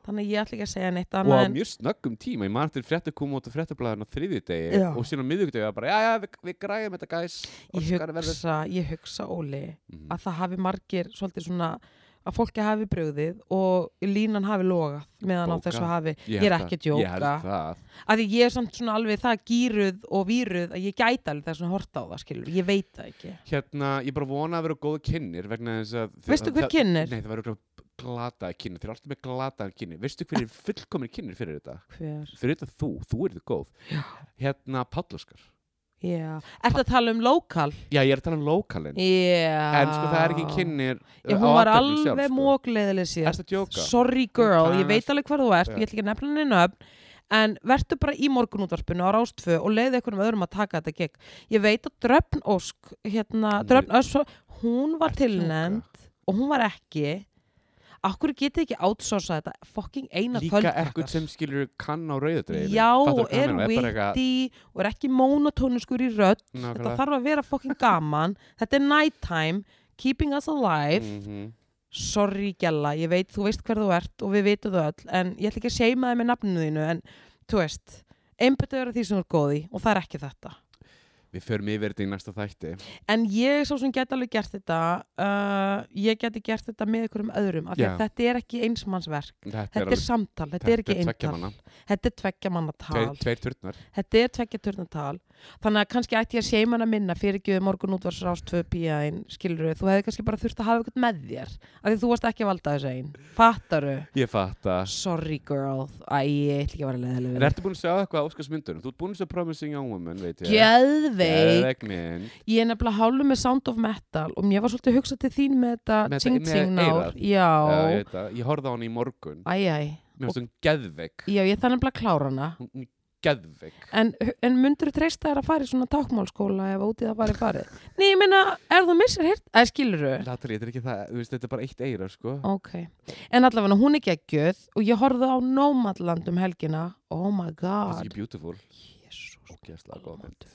þannig að ég ætla ekki að segja neitt
Og á
annað en...
mjög snöggum tíma, ég man til fréttu koma út á fréttablaðinu á þriðjudegi
Já.
og síðan á miðvikudegi var bara, já, já, við, við græðum þetta, guys.
Ég
Óskar verður-
hugsa, ég hugsa, Óli,
Mhm.
að það hafi margir svolítið svona að fólki hafi brugðið og línan hafi logað meðan á
Bókað.
þessu hafi
Ég
ég er
held
ekki að
það. Ég held
djóka.
það.
að því ég er samt svona alveg það gýruð og výruð að ég gæti alveg þess að horta á það skilur ég veit það ekki
Hérna, ég bara vona að vera góða kynnir vegna þess að...
Veistu hver
það-
kynnir?
Nei, það verður örugglega glataðir kynnir. Þeir eru alltaf með glataðir kynnir. Veistu hver er fullkomin kynnir fyrir þetta?
hver
Fyrir þetta þú, þú er þetta góð. Hérna, Pállóskar.
já ertu að tala um lokal
Já, ég er að tala um lokalinn.
já
En sko, það er ekki kynnir uh,
Ég, hún var alveg mókleðileg síðan
sko. Ertu að djóka?
sorry girl
Hún
ég veit
kannast-
alveg hvar þú ert
Já.
ég ætla ekki að nefna henni nöfn en vertu bara í morgunútvarpinu á rástfö og leiði einhvernum öðrum að taka þetta gegn ég veit að Dröfn Ósk hérna,
Hún er-
Dröfn Ösk, hún var
Ertu að djóka?
tilnend og hún var ekki Akkur getið ekki outsourca þetta fucking eina
líka ekkert sem skilur kann á rauðadreifinu
Já, og er witty og er ekki monotónuskur í rödd þetta
nákvæmlega
þarf að vera fokkin gaman þetta er nighttime, keeping us alive
Mhm.
sorry gælla, ég veit, þú veist hver þú ert og við veitum það öll, en ég ætla ekki að seima þið með nafninu þínu, en þú veist einbættu vera því sem þú er góði og það er ekki þetta
við förum yfir þetta í næsta þætti
en ég svo sem get alveg gert þetta uh, ég geti gert þetta með einhverjum öðrum, af því að
Já.
þetta er ekki einsmannsverk
þetta
þetta er samtal, þetta er ekki eintal þetta er tveggja manna tal
tveir, tveir turnar
Þetta er tveggja törnatal þannig að kannski ætti ég að seima hana minna fyrir ekki morgun útvarsrás 2 píæðin skilur þú hefði kannski bara þurft að hafa eitthvað með þér af því þú varst ekki að valda þessu einn fattaru,
ég fatta
sorry girl æ, ég ætla ekki að vera leðileg
en ertu búin að segja eitthvað á Óskars myndunum þú ert búin að segja Promising Young Woman veit ég
Gjöðveik,
Geðveik mynd
ég er nefnilega hálfur með Sound of Metal og mér var svolítið að hugsa til þín með þetta
Með þetta-
Ting Ting
með
nár
eyrað. Já, ég
Já, Ah,
veit það. ég horfði á hann í morgun
æ, æ
mér finnst hún geðveik
Já, ég þannig að klára hana
Hún- hún er geðveik
En, en myndur þú treysta þér að fara í svona tákmálskóla ef út í það farið farið?
<laughs>
Nei, ég meina, ef þú missir hirt, eða skilur þau?
Natalie, þetta er ekki það, þú veist, þetta er bara eitt eira, sko.
Ok, en allavega hún er geggjöð og ég horfði á Nómadland um helgina oh my
Þetta er
god
ekki beautiful. Oh,
Jesús
Ógeðslega góð mynd.
almáttugur.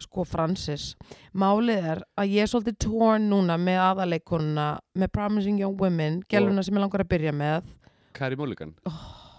sko Francis málið er að ég er svolítið torn núna með aðaleikununa með Promising Young Women, gæluna sem ég langar að byrja með
Carrie oh. Mulligan,
Oh.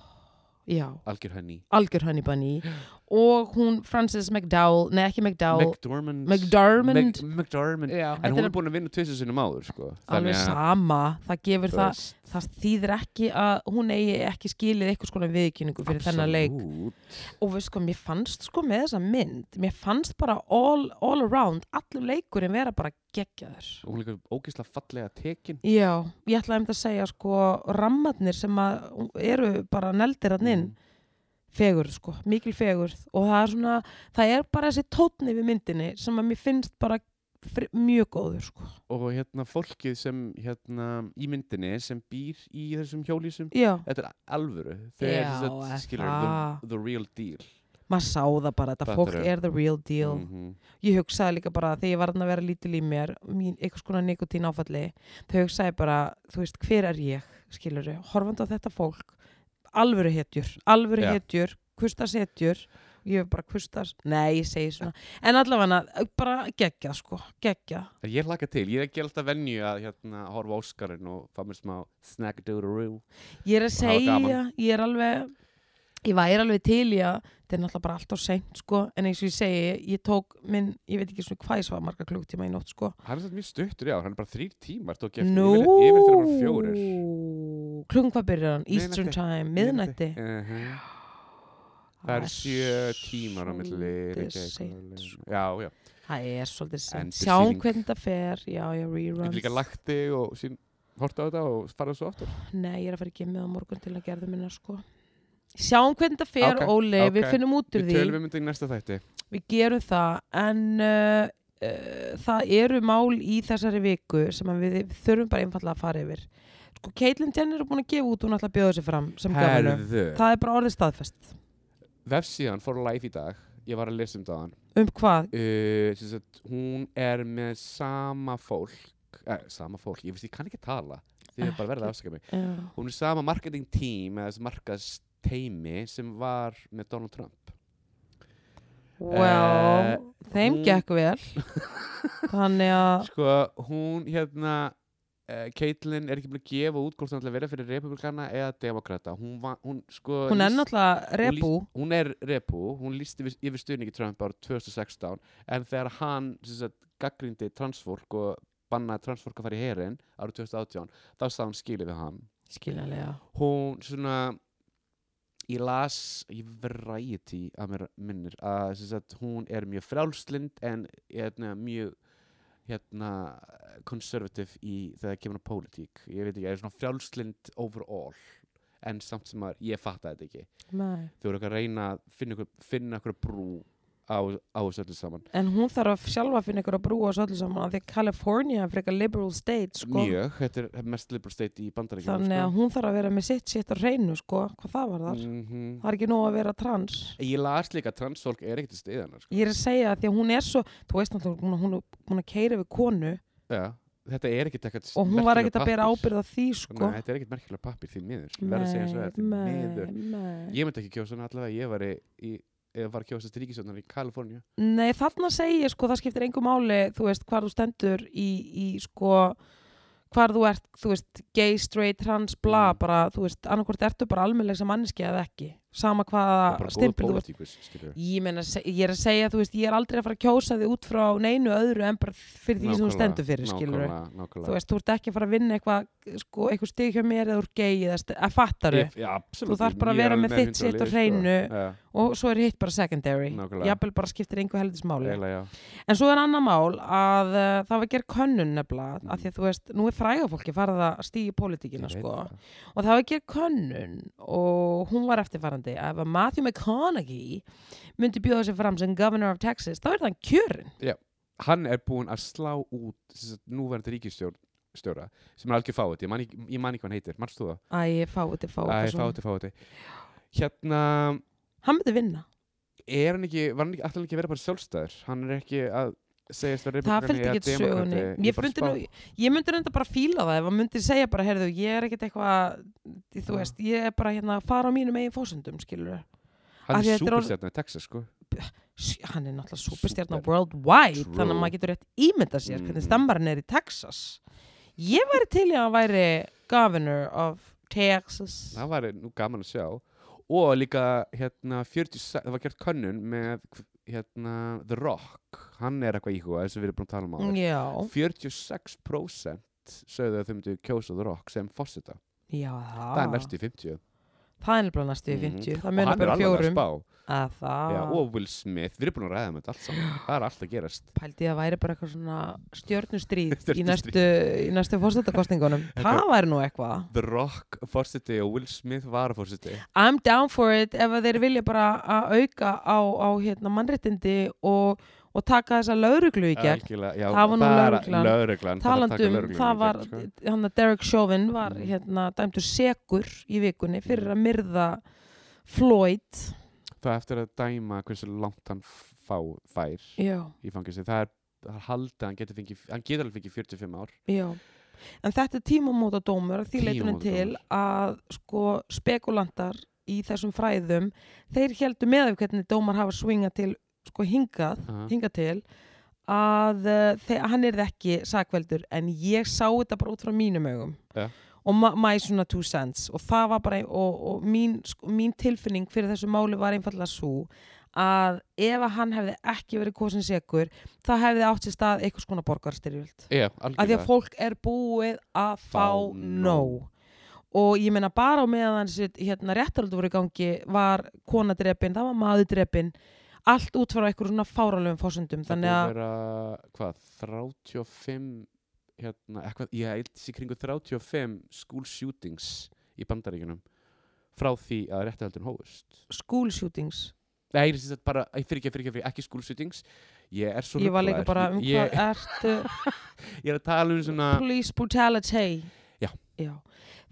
já,
algjör henni.
algjör Honey Bunny <gasps> og hún Francis McDowell, nei ekki McDowell
McDormand.
McDormand.
Mc- McDormand.
já,
En
þetta
hún
er
er búin að vinna tvissu sinum áður sko.
alveg sama það gefur það,
veist,
það þýðir ekki að hún eigi ekki skilið eitthvað skona viðkynningu fyrir þennan leik
absolút.
og veist sko, mér fannst sko með þessa mynd mér fannst bara all, all around allur leikurinn vera bara geggjaður
Hún er líka ógeðslega fallega tekin
já, ég ætlaði um þetta að segja sko rammarnir sem að eru bara neldir hann
Mm.
inn, fegurð sko mikil fegurð og það er svona það er bara þessi tótni við myndinni sem að mér finnst bara fr- mjög góður sko
Og hérna fólkið sem hérna í myndinni sem býr í þessum hjólísum
já,
Þetta er alvöru Þeir
Já,
eru
er
þess að skilur
það?
the, the real deal
maður sá það bara þetta
Fattar
fólk
þau?
er the real deal
-hmm.
ég hugsaði líka bara þegar ég var þarna að vera lítil í mér mín einhvers konar nikotín áfalli þau hugsaði bara, þú veist, hver er ég skilur þau, horfandi á þetta fólk alvöru hetjur, alvöru
Já.
hetjur kustars hetjur ég er bara kustars, nei ég segi svona en allavega, bara geggja sko geggja,
Ég hlaka til, ég er ekki alltaf venju að hérna, horfa á Óskarinn og fá mér smá snack-a-doodle-roo
ég er að
Og hafa
segja
gaman.
ég er alveg ég væri alveg til í að þetta er náttúrulega bara allt á seint sko en eins og ég segi, ég tók minn ég veit ekki svona hvað ég svað marga klugtíma í nótt sko
Hann er þetta mjög stuttur, já, hann er bara þrýr tímar tók ég eftir,
Nú,
yfir, yfir þeirra bara fjórir
klukkan hvað byrjar hann? Eastern
Miðnætti.
time, miðnætti
Uh-huh. Það eru sjö tímar á milli Reykjavíkur og
seint,
Reykjavík.
sko.
Já, já
Það er svolítið seint
Endursýning.
Sjáum hvernig það fer, já, já,
Ég
reruns
get líka lagt þig og sín horta á þetta og farað svo aftur
Nei, ég er að fara í gimmið á morgun til að gerðu minna sko Sjáum hvernig það fer,
Ok,
Óli, við
ok.
finnum út úr
Við
því
tölum um þetta í næsta þætti
Við gerum það, en uh, uh, það eru mál í þessari viku sem að við þurfum bara einfallega að fara yfir Sko, Caitlyn Jenner er búin að gefa út, hún ætla að bjóða sig fram sem gafinu
Herðu
Það er bara orðið staðfest
Vefsíðan fór live í dag Ég var að lesa um það
Um hvað?
uh, sem sagt, hún er með sama fólk eh, sama fólk, ég veist ég kann ekki tala því ég bara verða að afsaka mig
Já.
hún er sama marketing team eða þessi markasteimi sem var með Donald Trump
Well,
Eh,
þeim
hún-
gekk
<laughs>
vel Þannig að
sko, hún hérna uh, Caitlyn er ekki búin að gefa út hvort hún ætla að vera fyrir republikana eða demokrata hún, va- hún, sko,
hún er
lýst-
náttúrulega
hún
repú
lýst- hún er repu, hún lísti yfir, yfir stuðningi Trump ára 2016 en þegar hann sem sagt, gaggrindi transfólk og bannaði transfólk að fara í herin ára 2018, þá sá hann skilið við hann
Skiljanlega
hún svona ég las í Variety að mér minnir að sem sagt, hún er mjög frálslind en hérna, mjög hérna, konservativ í þegar kemur á pólitík ég veit ekki, ég er svona frálslind overall en samt sem að ég fatta þetta ekki
Nei.
þau voru eitthvað að reyna að finna ykkur, finna ykkur brú á, á þessu öllu saman
En hún þarf að sjálfa að finna ykkur að brúa svo allir saman af því að California er frekar liberal state sko.
mjög, þetta er mest liberal sko. state í bandaríkjum
Þannig að hún þarf að vera með sitt sitt á hreinu sko, hvað það var þar
mm
Það er ekki nóg að vera trans
ég las líka að transfólk er ekkert í stiðanar sko.
Ég er að segja að því að hún er svo þú veist náttúrulega, hún, hún, hún er keira við konu
Já, þetta er ekkert ekkert
og hún var ekkert að bera ábyrð á því
sko.
sko.
Nei, þetta er ekkert merkilega pappir því miður verður að segja eins og það er því miður
nei.
Ég myndi ekki kjósa hann allavega, ég var í, í eða var að kjósa til ríkisjóðnar í Kaliforníu
Nei, þarna segi ég sko, það skiptir engu máli, þú veist, hvar þú stendur í, í sko, hvar þú ert, þú veist, gay, straight, trans, bla,
Mm.
bara, þú veist, annarkvort ertu bara almennleg sem manneski eða ekki, sama
Það er
hvaða
bara góð
stimpil þú ert.
pólitíkus, skilur
Ég meina, se- ég er að segja, þú veist, ég er aldrei að fara að kjósa þig út frá neinu öðru en bara fyrir því sem þú stendur fyrir, skilur
Nákvæmlega,
Þú
nákvæmlega
veist, þú ert ekki að fara að vinna eitthvað, sko, eitthvað stig hjá mér eða úr gay eða st- að fattar
Ég- Já, absolutt
Þú þarft bara að vera með þitt sitt
sko.
á hreinu. og svo er hitt bara secondary.
Nákvæmlega.
Jafnvel bara skiptir engu heldismáli.
Eila, já
En svo er annað mál að uh, það var gerð könnun nefnilega mm.
Mm.
að því að þú veist, nú er fræga fólki farið að stíja í
Ég
pólitíkina
veit
sko
það.
og það var gerð könnun og hún var eftirfarandi ef að Matthew McConaughey myndi bjóða sig fram sem governor of Texas þá er það kjörin
Hann er búinn að slá út sem sagt, núverandi ríkisstjóra sem er algjör fáið, ég man ekki ég man ekki hvað hann heitir, mannst þú það?
Æ, fáið til
Æ,
fáið
fáið, fáið Hérna,
Hann myndi vinna
er hann ekki, var hann ekki, ætlaði hann ekki að vera bara sjálfstæður hann er ekki að segjast að
Það fylgdi
eða
ekki
demókrati.
sögunni
Ég
Ég
bara
myndi,
spá-
nú, ég myndi reynda bara fíla það ef hann myndi segja bara, heyrðu, ég er ekkert eitthvað þú
Já.
veist, ég er bara hérna að fara á mínum eigin fósendum, skilur af
hann
því
er
þetta er orð-
súperstjarnar í Texas sko
Sí, hann er náttúrulega superstjarnar
Super.
worldwide
True.
þannig að maður getur rétt ímynda sér hvernig
Mhm.
stambarinn er í Texas ég væri til í að hann væri governor of Texas
það var nú gaman að sjá og líka hérna 46, það var gert könnun með hérna The Rock hann er eitthvað íhuga þess að við erum búin að tala um á það
já,
46% sögðu að þau myndu kjósa The Rock sem fósita
já
það er næstu í 50
það er nefnilega Ah. næstu í
Mhm.
50 það
og
munar
hann er
bara um
alveg að
fjórum Ah.
spá
að það
Já, og Will Smith, við erum búin að ræða með þetta allt saman það er allt að gerast
pældi ég að væri bara eitthvað svona
<laughs>
stjörnustríð í
Stjörnustríð.
næstu, í næstu
<laughs>
fórsetakostingunum það væri nú eitthvað
The Rock fórseti og Will Smith var fórseti
I'm down for it ef að þeir vilja bara að auka á, á hérna, mannréttindi og, og taka þessa lauruglu í gegn
Algjörlega, já,
Það var nú
er
lögreglan.
lögreglan bara að taka
talandi um,
lögregluna í
það
gegn,
var
sko.
hann að Derek Chauvin var
Mhm.
hérna dæmtur segur í vikunni
Mm.
fyrir að myrða Floyd
Það er eftir að dæma hversu langt hann fá, fær
já,
í fangilsi Það er það er haldið, að hann getur fengið, hann getur alveg fengið 45 ár
já en þetta er tímamóta dómur að því leitunum til
Tímamótadómur.
að sko spekulantar í þessum fræðum þeir heldur með af hvernig dómar hafa svinga til sko hingað
Aha.
hingað til að uh, þe- hann er ekki sakveldur en ég sá þetta bara út frá mínum augum
Ja.
og ma- my svona two cents og það var bara, og, og mín, sko, mín tilfinning fyrir þessu máli var einfallega svo að ef að hann hefði ekki verið kosin segur, það hefði átt sér stað einhvers konar borgarstyrjöld
Já,
að því að
algjörlega
fólk er búið að fá
Fá
nóg og ég meina bara á meðan sitt, hérna réttaröldu voru í gangi var kona drepin, það var maður drepin allt út frá eitthvað svona fáránlegum fórsöndum þannig að
að vera, hvað, 35 hérna, eitthvað, ég held sér kringu 35 school shootings í bandaríkunum frá því að réttahaldun hófust
school shootings
Nei, ég syns að bara, ég fyrir ekki, fyrir ekki, ekki school shootings Ég er svo
ég var líka
ruglaður.
bara um
ég,
hvað ertu
<laughs> ég, ég er að tala um svona
police brutality
Já.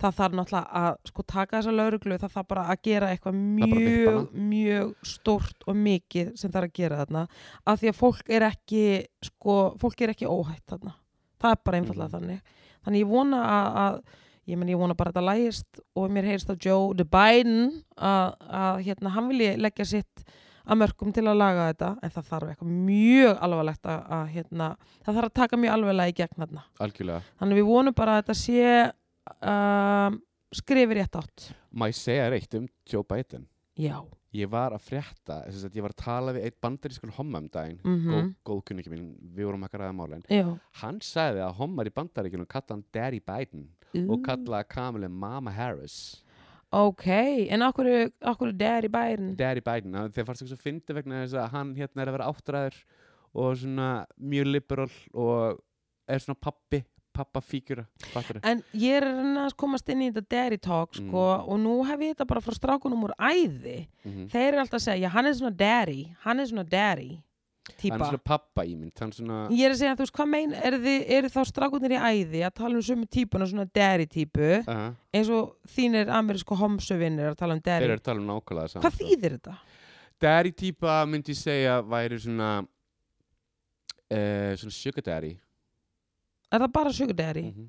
það þarf náttúrulega að sko taka þessa lauruglu það þarf bara að gera eitthvað
bara að vippa
mjög mjög stórt og mikið sem þarf að gera þarna af því að fólk er ekki sko, fólk er ekki óhætt þarna það er bara einfallega
Mhm.
þannig þannig ég vona að, að ég menn ég vona bara að þetta lægist og mér heyrist að Joe the Biden að, að hérna, hann vilji leggja sitt að mörgum til að laga þetta en það þarf eitthvað mjög alvarlegt að, að hérna, það þarf að taka mjög alvarlega í gegn þarna
algjörlega
Þannig við vonum bara að þetta sé um, skrifi rétt átt.
Má ég segja reitt um Joe Biden
Já.
Ég var að frétta, þess að ég var að tala við einn bandarískun homma um daginn
Mm
mm. góð, góð kunningi mín, við vorum að ræða málin
Já.
Hann sagði að hommar í bandaríkunum kalla hann Daddy Biden
Mm.
og kallaði Kamilu Mama Harris
Ok, en okkur, okkur der í bærin.
Daddy Biden, að þeir fannst ekki svo fyndi vegna þess að hann hérna er að vera áttræður og svona mjög liberal og er svona pappi pappafíkjura, fattur
En ég er að reyna að komast inn í þetta dairy talk
Mm.
sko, og nú hef ég þetta bara frá strákunum úr æði.
mm
Þeir eru alltaf að segja, já, hann er svona dairy, hann er svona dairy
hann er
típa.
svona pappa ímynd hann svona,
Ég er að segja, þú veist, hvað mein, eru er þá strákunir í æði að tala um sömu típuna, svona dairy típu,
uh,
eins og þínir amerísku homsuvinnir að tala um
þeir
dairy.
eru að tala um nákvæmlega saman
Hvað þýðir þetta?
Daddy típa myndi ég segja væri svona uh, svona sugar daddy
Er það bara sugar dairy?
mm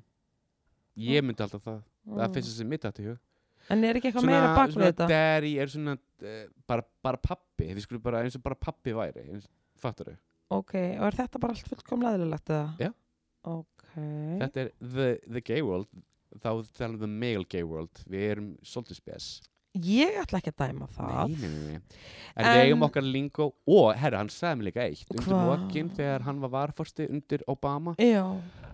ég myndi alltaf það Mm, það finnst þessi mitt aftur í hug
Mm. En er ekki eitthvað Mm. meira bak við
svona
þetta?
Daddy er svona uh, bara, bara pappi, við skulum bara eins og bara pappi væri eins, Fattar þau?
Ok, og er þetta bara allt fullkomlega aðlilegt eða?
Já.
Ok.
Þetta er the, the gay world þá talum við um male gay world við erum svolítið spes
Ég ætla ekki að dæma það.
nei, nei, nei, nei. En við
En-
eigum okkar lingo og herra, hann sagði mér líka eitt undir
Hva?
mokkin þegar hann var varfosti undir Obama
Já.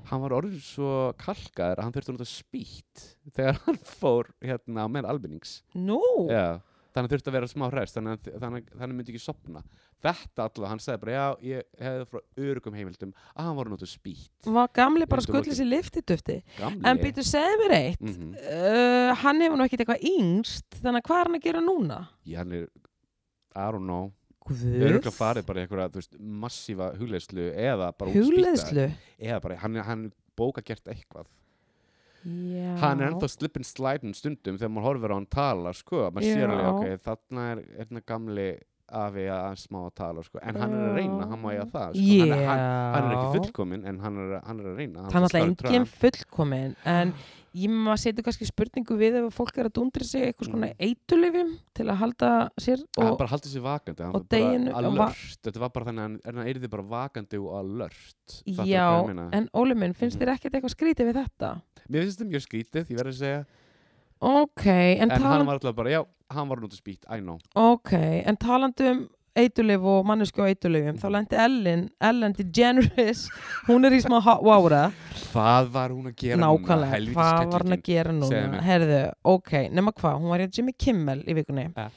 hann var orðin svo kalkaður að hann þurfti að nota spýtt þegar hann fór hérna á meðan almennings
Nú,
Já, þannig þurfti að vera smá hræst þannig, að- þannig, þannig myndi ekki sopna þetta allavega, hann sagði bara já, ég hefði frá örugum heimildum að hann var nú til spýtt
var gamli bara
Undir
skullið
lokin.
sér liftidufti.
gamli
Mm. En býtu, segðu mér eitt.
Mhm.
Uh, hann hefur nú ekkert eitthvað yngst, þannig að hvað er hann að gera núna?
Já, hann er, I don't know
Guð.
öruglega farið bara í einhverja, þú veist, massífa hugleðslu eða bara út spýta.
Hugleiðslu.
eða bara, hann, hann bóka gert eitthvað
Já.
hann er ennþá slip and slide um stundum þegar maður horfir á hann tala, sko maður sér
Já.
alveg, ok, þarna er einna gamli afi að smá að tala, sko en hann er að reyna, hann má ég að það sko.
Já.
hann, er- hann, hann er ekki fullkominn en hann er, hann er að reyna
Það er náttúrulega enginn
Trump.
fullkomin en ég maður setur kannski spurningu við ef að fólk er að dundri sig eitthvað svona eitulifum til að halda sér
hann
og
Mm. bara haldið sér vakandi hann
og
var bara
deginum-
alert
va-
þetta var bara þannig að hann- en hann erði bara vakandi og alert Fattar þú
já,
hvað ég meina?
en Óli minn, finnst
Mhm.
þér ekkert eitthvað skrítið við þetta?
mér finnst þetta mjög skrítið, ég verð að segja
Ok, en,
en, hann
talan,
var alltaf bara, já, hann var nútið spýtt I know,
okay, en talandi um eitulif og mannesku og eitulifum þá
Mm.
lendi Ellen, Ellen DeGeneres hún er í smá hot water
hvað var hún að gera núna
nákvæmlega,
Helvítis
hvað var hann
kellingin.
að gera
segðu
núna
mér.
herðu, ok, nema hvað, hún var hjá Jimmy Kimmel í vikunni
Ja.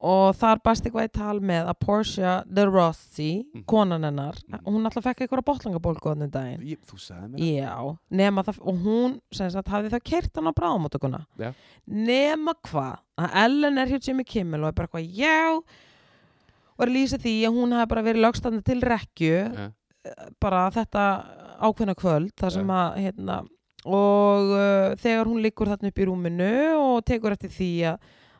og þar bæst eitthvað í tal með að Portia de Rossi,
Mhm.
konan hennar
Mhm.
hún alltaf fekk eitthvað bótlangabólku þannig daginn
Ég- þú sagði mér
Já, nema það, og hún sem sagt hafði þá kert hann á bráðamótökuna
Já.
nema hvað að Ellen er hjá Jimmy Kimmel og er bara eitthvað já og er að lýsa því að hún hafi bara verið lögstanda til rekju
Já.
bara þetta ákveðna kvöld þar sem
Já.
að hérna og uh, þegar hún liggur þarna upp í rúminu og tekur eftir því að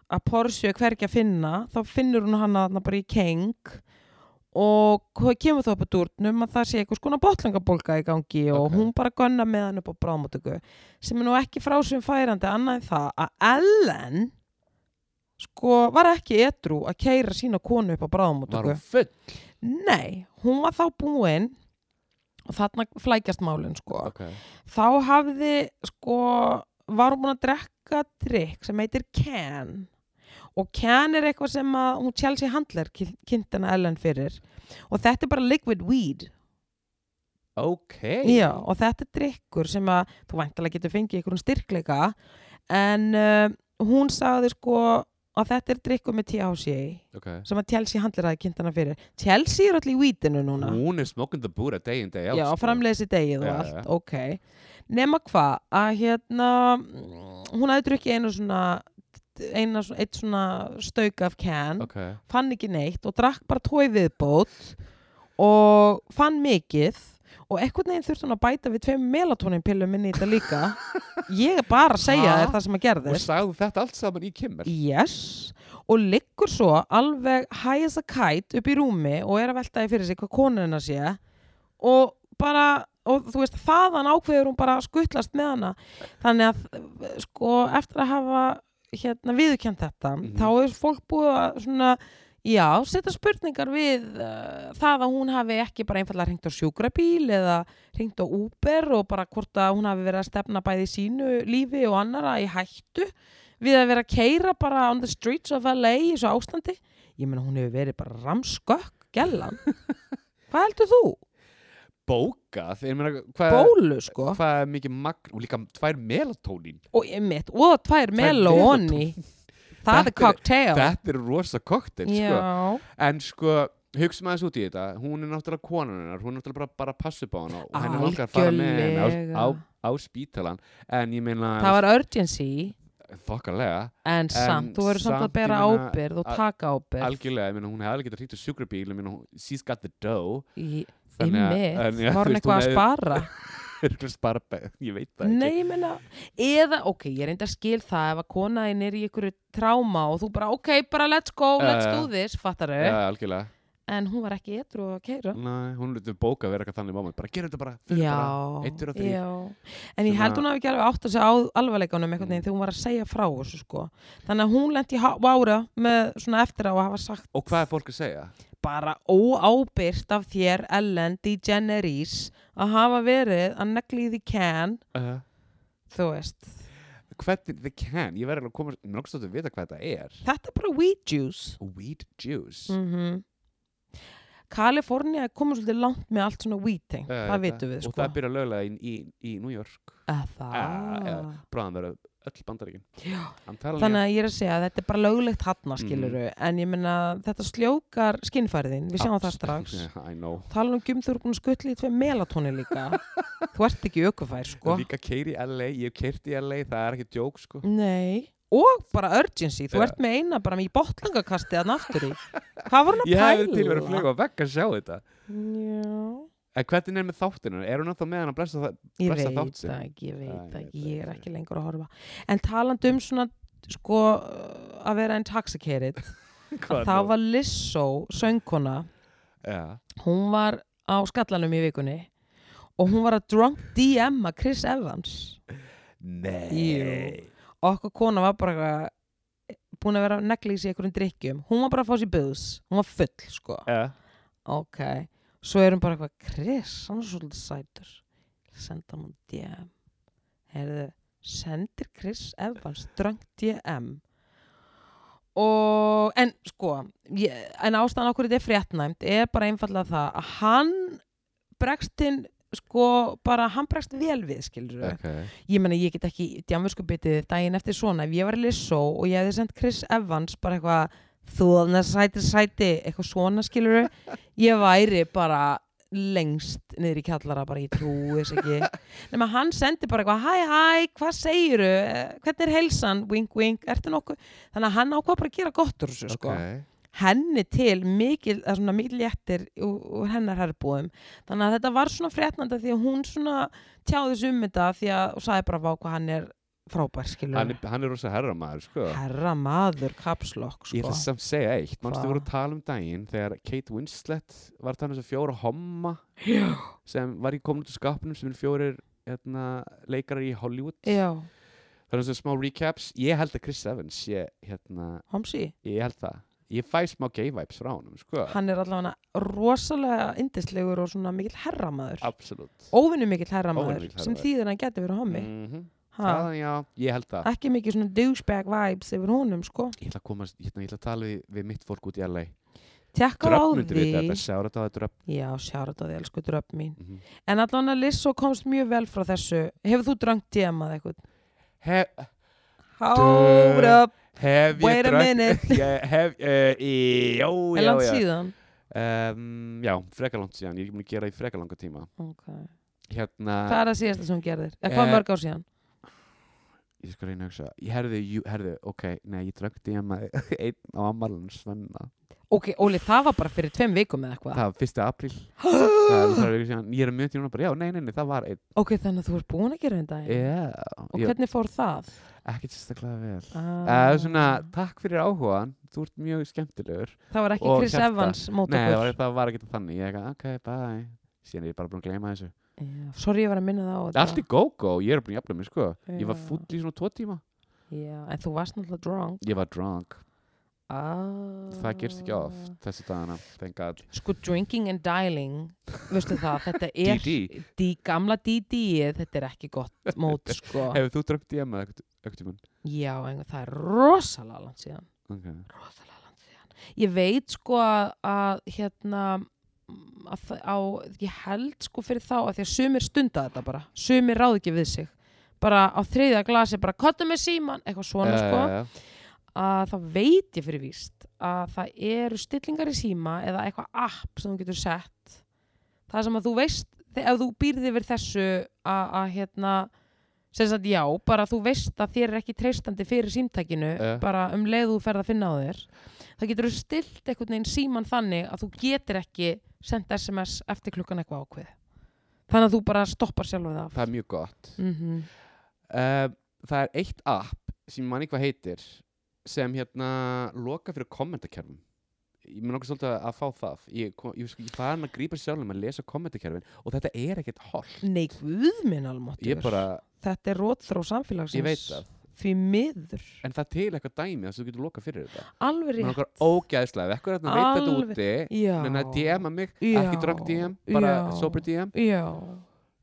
að Porsche er hvergi að finna þá finnur hún hana þarna bara í keng og hvað kemur þá upp á dúrnum að það sé eitthvað skona botlangabólka í gangi og
Ok.
hún bara gönna með hann upp á bráðmátöku sem er nú ekki frásum færandi annað en það að Ellen sko var ekki edru að keira sína konu upp á
var
bráðmátöku
hún full
Nei, hún var þá búin og þarna flækjast málin sko
okay.
þá hafði sko var hún búin að drekka drikk sem heitir Can og Can er eitthvað sem að hún Chelsea Handler kynntina Ellen fyrir og þetta er bara liquid weed
ok
Já, og þetta er drikkur sem að þú væntalega getur fengið einhverjum styrkleika en uh, hún sagði sko að þetta er drikkur með THC
ok
sem að Chelsea handlir aðeins kynnt hana fyrir Chelsea er allir í vítinu núna
hún er smoking the búra day in day out
já,
sko.
framleiðis í degið og
Já, já,
allt,
já.
ok nema hvað, að hérna hún hafði drukkið einu svona eina, svona- eitt svona stauk af can
ok,
fann ekki neitt og drakk bara tói viðbót og fann mikið og eitthvað neginn þurfti hún að bæta við tveim melatonin pillum inn í þetta líka
<laughs>
ég er bara að segja
Ha?
þér það sem að
og
gerðist
sagði þetta allt saman í kimmel
yes og liggur svo alveg high as a kite upp í rúmi og er að velta því fyrir sig hvað konur hennar sé og bara og þú veist þaðan ákveður hún bara að skuttlast með hana þannig að sko eftir að hafa hérna viðurkjönd þetta
Mhm.
þá er fólk búið að svona já, setja spurningar við uh, það að hún hafi ekki bara einfallega hringt á sjúkrabíl eða hringt á Uber og bara hvort að hún hafi verið að stefna bæði sínu lífi og annara í hættu við að vera að keira bara on the streets of LA í þessu ástandi ég meina hún hefur verið bara ramskökk gellan hvað heldur þú?
bókað, ég meina hvað
Bólu sko
hvað er mikið magn og líka tvær melatónin
og mitt, og tvær meló onni það
Þetta
er
er-
cocktail
þetta er rosa koktel sko.
já,
en sko hugsa maður þessu út í þetta hún er náttúrulega konan hennar, hún er náttúrulega bara, bara að passa upp á hana og henni langar að fara með henni á, á,
Algjörlega.
á spítalan en ég meina,
það var urgency
þokkalega
en samt, þú verður samt
samt,
að bera
ég meina,
ábyrð og
al-
taka ábyrð
algjörlega, ég meina hún hefði alveg getað hringt á sjúkrabíl, ég meina hún- she's got the dough <laughs>
í
Þannig að-
mitt,
en, já,
var hún
þú veist,
eitthvað að
hún
spara
<laughs> Örugglega spara be- ég veit það ekki
nei, ég meina, eða, ok, ég reyndi að skil það ef að konaðin er í ykkur tráma og þú bara, ok, bara let's go
Já,
let's
já.
do this, fattaru
Já, algjörlega,
en hún var ekki etru að keira
Nei, hún er bókað að vera eitthvað þannig máma bara gerum þetta bara, fyrir bara
Já,
eittur og þrír.
já. en ég
Svona-
held hún hafi ekki alveg átt að segja á alvarleikanum einhvern veginn
Mm.
þegar hún var að segja frá þessu sko. þannig að hún lendi vára með svona eftir á að hafa sagt
og hvað er fólk að segja?
bara óábyrst af þér Ellen DeGeneres að hafa verið að negli því can
Uh,
þú veist,
hvernig þið can, ég verði alveg að koma náttúrulega að vita hvað þetta er
þetta er bara weed juice
weed juice
mm Kalifornia er komið svolítið langt með allt svona weed tengt,
Eh,
það vitum við
og
sko
það byrja löglega í, í, í New York
Eh,
Ah,
það
já. bráðan verða öll bandaríkin
Þannig
þannig
að ég er að segja að þetta er bara löglegt
Mm.
hatna skiluru, en ég meina þetta sljókar skinnfæriðin, við sjáum það
<laughs>
strax
I know
tala nú ekki um þú eru búin að skutla í tvei melatóni líka þú ert ekki ökufær sko
líka keir í LA, ég hef keirt í LA það er ekki djók sko
nei, og bara urgency þú
Já.
ert með eina bara með í botlangakasti að naftur í, hvað var hann að
ég
pæla
hefði til verið að flega á vekk að sjá þetta
já,
en hvernig er með þáttinu, er hún ennþá með hann að blessa það
ég
Blessa
veit
þátt sinn.
það ekki ég
Æ, ég
veit það
veit
ekki,
það
ég er
ekki.
ekki lengur að horfa en talandi um svona sko, að vera intoxicated
Hvað
þá
nú?
var Lissó söngkona
Já.
hún var á skallanum í vikunni og hún var að drunk DM að Chris Evans
nei
og okkur kona var bara eitthvað eh, búin að vera að negli í sig einhverjum drikkjum hún var bara að fá sér buðs, hún var full sko.
Já.
ok, svo er hún bara eitthvað Chris, hann er svolítið sætur senda hann DM heyrðu, sendir Chris Evans drunk DM og en sko ég, en ástæðan okkur þetta er fréttnæmt er bara einfallega það að hann bregst inn sko bara hann bregst vel við skilur
Okay.
ég meina ég get ekki djamurskubitið daginn eftir svona ef ég var í Lissó og ég hefði sendt Chris Evans bara eitthvað þóðna sæti sæti eitthvað svona skilur ég væri bara lengst niður í kjallara bara ég trúi þess ekki nema hann sendi bara eitthvað hæ hæ hvað segiru hvernig er heilsan wink wink ertu nokkuð þannig að hann ákvað bara að gera gott úr þessu sko
Okay.
henni til mikil, eða svona mikil léttir úr, úr hennar herrbúðum þannig að þetta var svona frétnanda því að hún svona tjáði þessu um þetta því að og sagði bara vá hvað hann er frábær skilur
Hann, er, hann er rosa herramaður sko.
herra maður kapslokk
Ég
sko.
ætla samt að segja eitt, mannstu
Hvað?
voru að tala um daginn þegar Kate Winslet var þannig að fjóra homma
já,
sem var í komin út úr skapnum sem er fjórir hérna, leikarar í Hollywood
já,
þannig að smá recaps, ég held að Chris Evans ég, hérna,
homsi
ég held það ég fæ smá gay vibes frá honum sko.
hann er allavega rosalega indislegur og svona mikil herra maður
absolutt
óvinni mikill herra maður
Óvenju mikill
sem
herramaður.
þýðir að hann geti verið hommi
-hmm.
mm.
já, ég held það
ekki mikið svona douchebag vibes yfir honum sko
ég ætla að, komast, hérna, ég ætla að tala við, við mitt fólk út í LA
tjekka á
Dröfn myndi
því
við þetta, sjára þetta að dröfn
já, sjárat á því, elsku dröfn mín
mm -hmm.
En allan að Lissó komst mjög vel frá þessu. Hefur þú drangt DM að eitthvað?
He
Hold
Duh.
up
Hef ég
Wait a
drukk-
minute.
<laughs> Ég hef, uh, já,
Er
já,
langt
já.
síðan
Um, já, frekar langt síðan, ég er ekki búin að gera í frekar langa tíma.
okay.
Hérna,
Hvað er það síðasta sem hún gerðir? Eða
Eh,
hvað mörg ár síðan?
ég skal reyna að hugsa, ég herði, jú, herði, ok, nei, ég drökti hjá <laughs> einn á ammalun svenna.
Ok, Óli, það var bara fyrir tveim vikum eða eitthvað
Það var fyrsta apríl,
<gasps>
það er þrjá vikur síðan, ég er að mjög tíma bara, já, nei, nei, nei, það var einn,
Ok, þannig að þú ert búin að gera þetta
já,
Og
ég,
hvernig fór það?
ekkert sérstaklega vel. Það
Ah.
er svona, takk fyrir áhugan, þú ert mjög skemmtilegur.
Það var ekki
og
Chris
hjarta.
Evans mót
Nei, það var,
okkur
það var ekki þannig, ég er ekki, ok, bye, síðan er ég bara búin að gleyma þessu.
Já, Sorry, ég var að minna það á þetta
Allt í go-go, ég er búin að jafna mig, sko. Ég var
Já.
fúll í svona tvo tíma.
Já, En þú varst náttúrulega drunk
Ég var drunk.
ah.
Það gerst ekki oft þessi dagana, thank god.
Sko, drinking and dialing Veistu það, þetta er
DD.
Dí, Gamla DD-ið, þetta er ekki gott mót sko.
Hefur þú drömt í emma ekkert tíma?
Já, en það er rosalega langt síðan
Ok.
rosalega langt síðan ég veit sko að, að hérna að, það- á, ég held sko fyrir þá að því að sumir stunda þetta bara sumir ráð ekki við sig bara á þriðja glasi bara kottu með síman eitthvað svona sko
Eh,
að þá veit ég fyrir víst að það eru stillingar í síma eða eitthvað app sem þú getur sett það sem að þú veist þe- ef þú býrði yfir þessu að, að hérna sem sagt já, bara þú veist að þér er ekki treystandi fyrir símtækinu
Eh.
bara um leið þú ferð að finna á þér það getur þú stilt einhvern veginn síman þannig að þú getur ekki senda sms eftir klukkan eitthvað ákveð þannig að þú bara stoppar sjálfur það
Það er mjög gott.
mm
Uh, það er eitt app sem ég man ekki hvað heitir sem hérna loka fyrir kommentakerfum ég mun okkur svolítið að fá það ég, kom- ég, sko, ég farin að grípa sjálfum að lesa kommentakerfin og þetta er ekkert holt
Nei, guð minn almáttur
ég bara,
Þetta er rótþró samfélagsins
ég veit það
því miður
en það er til eitthvað dæmi þess að þú getur loka fyrir þetta
alveg
mér
rétt
okkar ógæðslega, ef ekkur er þarna veit þetta
Alveg-
úti
já,
menna DM-a mig,
Já.
ekki drökk DM bara
Já.
sober DM,
já,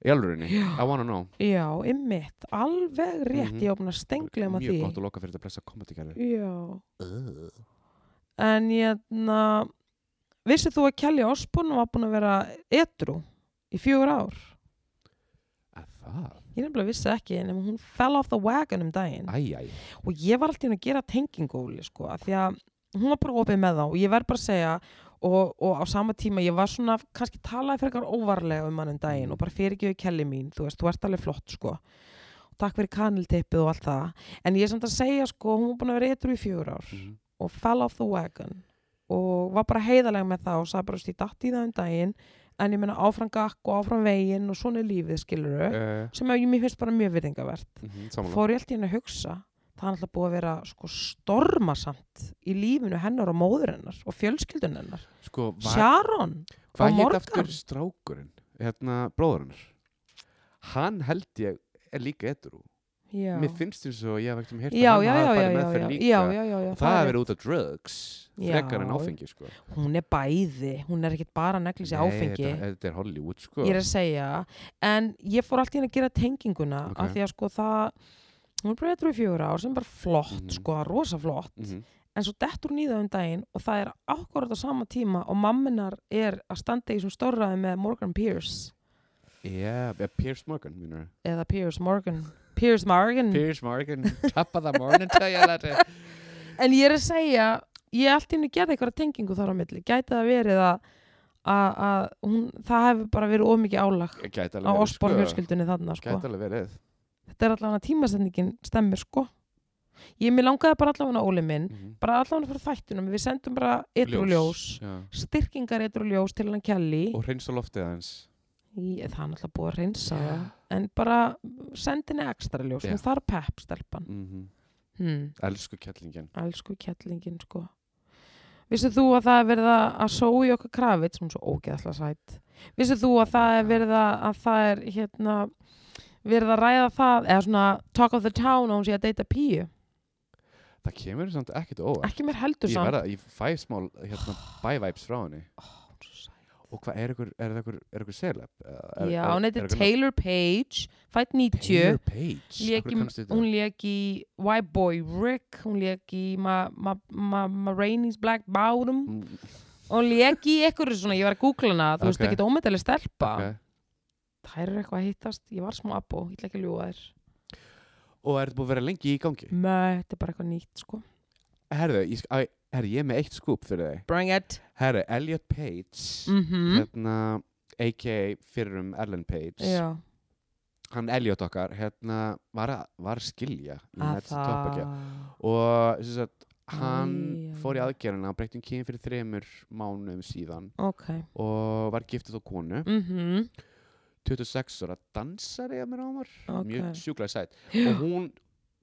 í alvörunni I wanna know,
já, ymmit alveg rétt,
Mhm.
ég opna stenglema
mjög
því
gott að loka fyrir þetta blessa kommentakerfi
já en hérna vissið þú að Kelly Osborn var búin að vera etru í fjögur ár
Er það,
ég nefnilega vissi ekki, en hún fell off the wagon um daginn
æjæj
og ég var alltaf að gera tengingóli sko, af því að hún var bara opið með þá og ég verð bara að segja og, og á sama tíma ég var svona kannski talaði frekar óvarlega um hann um daginn og bara fyrirgjöðu kelli mín, þú veist, þú ert alveg flott sko og takk fyrir kanilteipið og allt það en ég er samt að segja sko, hún var búin að vera eitthvað í fjögur ár
Mhm.
og fell off the wagon og var bara heiðalega með það og sagði bara, þú veist, ég datt í það um daginn en ég meina áfram gakk og áfram veginn og svona er lífið skilur
uh,
sem að ég mér finnst bara mjög virðingavert
mhm, sammála.
fór ég alltaf inn að hugsa það er alltaf búið að vera sko stormasamt í lífinu hennar og móður hennar og fjölskyldun hennar
sko, var,
Sharon, á
hvað heit
morgun?
aftur strákurinn hérna bróðurinn hann held ég er líka edru
já
mér finnst þér svo, ég hef ekkert um heyrt að
já,
hann
já, já,
hafi
já,
farið
já,
meðferð
já,
líka
já, já, já, já,
og það
er
hefur
rétt.
verið út af drugs
Já.
frekar en áfengi sko
hún er bæði, hún er ekkit bara neglis í áfengi
þetta, þetta er Hollywood sko
ég er að segja, en ég fór alltaf inn að gera tenginguna
Ok.
af því að sko það hún er bara eitthvað í fjögur ár sem er bara flott
Mhm.
sko, rosa flott
Mhm.
en svo dettur hún í það um daginn og það er akkurat á sama tíma og mamminar er að standa í þessum stórraði með Morgan Pierce
Já, yeah, Piers Morgan mínur.
eða Piers Morgan Piers Morgan
Piers Morgan, tappa það morgun tæja þetta
en ég er að segja ég allt í henni gerði eitthvað tengingu þar á milli gæti það verið að, að, að hún, það hefur bara verið ómikið álag
Gæti
á
alveg verið
Osborn
sko
fjölskyldunni þarna sko.
Gæti alveg verið
þetta er allavega tímasendingin stemmir sko ég mér langaði bara allavega óli minn
Mhm.
bara allavega fyrir þættunum, við sendum bara ytrú ljós,
Já.
styrkingar ytrú ljós til hann Kelly
Og reynsa loftið aðeins
Í- það er náttúrulega búið að reynsa það en bara sendinni ekstra ljós
Já.
hún þarf pepp stelpan
mm
hmm.
Elsku kettlingin
elsku kettlingin sko Vissu þú að það er verið að að sói okkar krafið sem er svo ógeðslega sætt Vissu þú að það er verið að, að það er hérna verið að ræða það eða svona talk of the town og hún sé að deyta píu
Það kemur samt ekkert óvart
ekki mér heldur
ég,
samt
verða, ég fæ smá hérna, bævæps frá henni og hvað er ykkur, er það ykkur, er ykkur celeb? Er-
Já,
er-
hún
er
heitir
ykkur
Taylor Page fætt 90
Taylor Page
lék
Akkur
í,
kannst þetta?
hún lék í Why Boy Rick hún lék í Ma, Ma, Ma, Ma Rainey's Black Bottom
Mm,
og hún lék í ekkur svona, ég var að googla hana þú veist
Ok.
ekki þetta ómyndilega stelpa
ok.
þær eru eitthvað að hittast, ég var smá abbo, ég ætla ekki að ljúga þér
og er þetta búið að vera lengi í gangi
Nei, þetta er bara eitthvað nýtt sko
herðu, ég, sk- æ, herðu, ég er með eitt skúp fyrir þig
Bring it
herðu, Elliot Page
mm -hmm.
hérna, a.k.a. fyrrum Ellen Page
Já,
hann Elliot okkar hérna, var, að, var að skilja í
að
Ned's Top
það
Gear. og sem sagt, hann
Æ, æ,
fór í
æ.
aðgerðina og breytti um kyn fyrir þremur mánuðum síðan
Ok
og var giftið á konu
mm
26 ára dansari að mér ámar
Ok.
mjög sjúklega
<gasps>
sætt og hún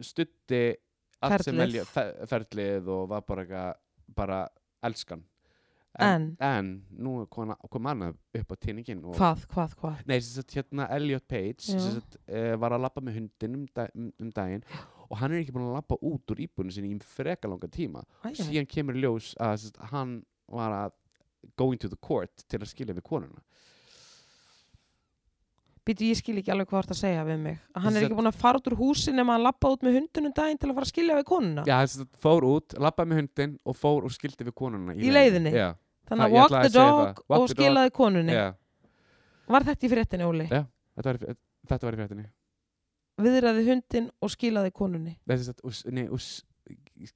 stutti allt sem
Ferlið.
elja, fe- ferlið og var bara, eitthvað- bara elskan
En,
en nú er kona- kom annað upp á tinningin og
hvað, hvað, hvað
Nei, sem sagt, hérna Elliot Page sem
Já.
sagt, uh, var að lappa með hundin um, da um, um daginn og hann er ekki búin að lappa út úr íbúinu sinni í freka langa tíma
Æ, æ.
síðan kemur í ljós að sem sagt, hann var að going to the court til að skilja við konuna
Býtu, ég skil ekki alveg hvað þú ert að segja við mig Að Hann er
Sem-
ekki búin að fara út úr húsin nema að lappa út með hundunum daginn til að fara að skilja við konuna
Já, sem sagt, fór út, lappaði með hundin og fór og skildi við konuna
Í leiðinni?
Já,
Þannig að
það- ég
walk
ætlaði
the
að segja
dog
það. Walk
og
the dog.
skilaði konunni
já
Var þetta í fréttinni, Óli?
Já. þetta var, í- þetta var í fréttinni
Viðraði hundin og skilaði konunni
Nei, sem sagt, og, s- nei, og s-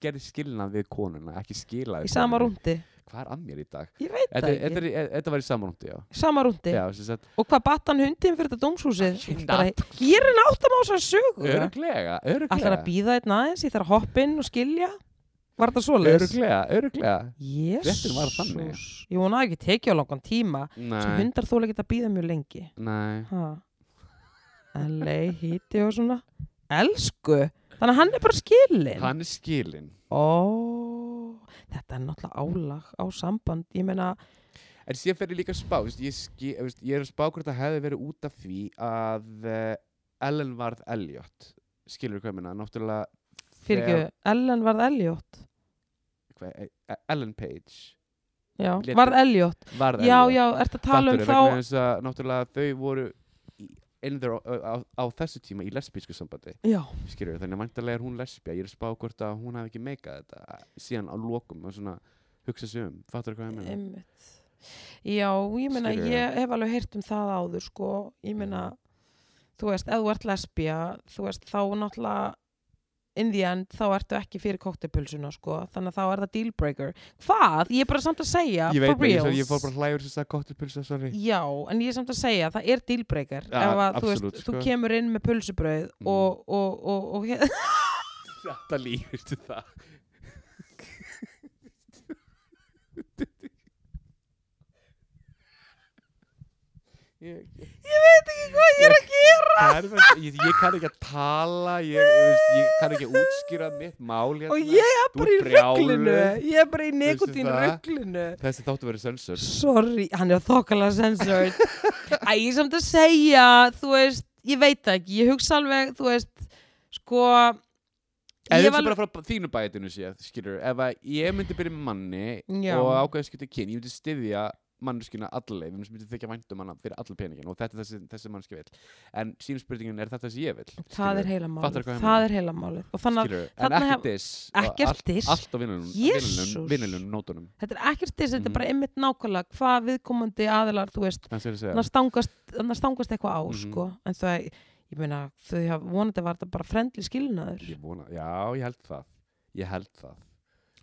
gerði skilnað við konuna ekki skilaði
Í sama rúndi
Hvað er að mér í dag?
Ég veit
Þetta,
það
þetta,
ekki
er í- e- þetta var í sama rúndi, já
Sama rúndi
Já, sem sagt,
Og hvað batt hann hundin fyrir þetta dómshúsið?
Ég veit
Bara- Ég er enn áttam á þessar sögu
Öruglega,
Ætlar að
öruglega
býða einn aðeins, ég þarf að hoppa inn og skilja Var þetta svoleiðis?
Öruglega, öruglega
Jésús
Fréttin var þannig.
Ég vona að ekki tekið á langan tíma sem
Nei,
hundar þóla geta að býða mjög lengi
nei
ha. LA híti og svona Elsku, þannig að hann er bara skilin
Hann er skilin
Ó, þetta er náttúrulega álag á samband Ég meina,
En síðan fer ég líka að spá veist, ég, ski, veist, ég er að spá hvort það hefði verið út af því að eh, Ellen varð Elliot Skilur hvað ég meina, náttúrulega
fyrir ekki, Ellen varð Elliot
hva, eh, Ellen Page
Já,
Lét-
varð Elliot
varð
Já,
Elliot
já, ertu að tala um
Fattarðu, vegna
þá
þess að, Náttúrulega þau voru í- in there á, á, á, á þessu tíma í lesbísku sambandi
Já,
skilur, þannig að væntalega er hún lesbja ég er að spá hvort að hún hafi ekki meikað þetta eh, síðan á lokum og svona hugsa sig um, fattar hvað ég meina?
einmitt Já, ég meina,
Skilurðu?
ég hef alveg heyrt um það áður, sko Ég meina, þú veist, ef þú ert lesbía þú veist, þá náttúrulega in the end, þá ertu ekki fyrir koktepulsuna, sko, þannig að þá er það dealbreaker Hvað? Ég er bara samt að segja
ég veit
for
ekki,
reals
ég fór bara hlægur þess að kottilpulsa, sorry
Já, en ég er samt að segja, það er dealbreaker
Ja,
ef að, þú
absolutt,
veist,
sko.
þú kemur inn með pulsubrauð
Mm.
og, og, og, <laughs> og, og
þetta lífur til það ég,
ég veit ekki hvað ég er að gera
það er bara- ég, ég kann ekki að tala ég, ég, veist, ég kann ekki að útskýra mitt mál hérna.
og ég er
Þú
bara í
ert brjáluð.
rugglinu ég er bara í
Veistu
nikotín
það?
rugglinu
þessi þáttu verið sensor
Sorry, hann er þokkala censored Æ, ég er samt að segja þú veist, ég veit það ekki ég hugsa alveg, þú veist sko
En
ég
þetta er bara frá þínu bætinu séð, skilur, ef að ég myndi byrja með manni
Já.
og ákveða skipta kyn, ég myndi styðja manneskina allaveg, ég myndi þykja væntum hana fyrir alla peningin og þetta er þessi, þessi manneski vill. En sínum spurningin er þetta þessi ég vill, skilur.
það er heila
Fattar
málið,
hvað ég
það er heila málið og þannig að
skilur, en
þarna
ekki
hef-
diss. og
ekkert
allt,
diss.
Allt á vinnunum,
Jesús.
vinnunum, vinnunum, nótunum,
þetta er ekkert þess, þetta
Mhm.
er bara einmitt nákvæmlega hvað viðkomandi aðilar, þú veist
þannig að segja.
þannig að stangast, þannig að stangast eitthvað á
Mhm.
sko, en það, ég meina þau hafa vonandi var þetta bara frendli skilnaður
Ég vona, já, ég held það, ég held það.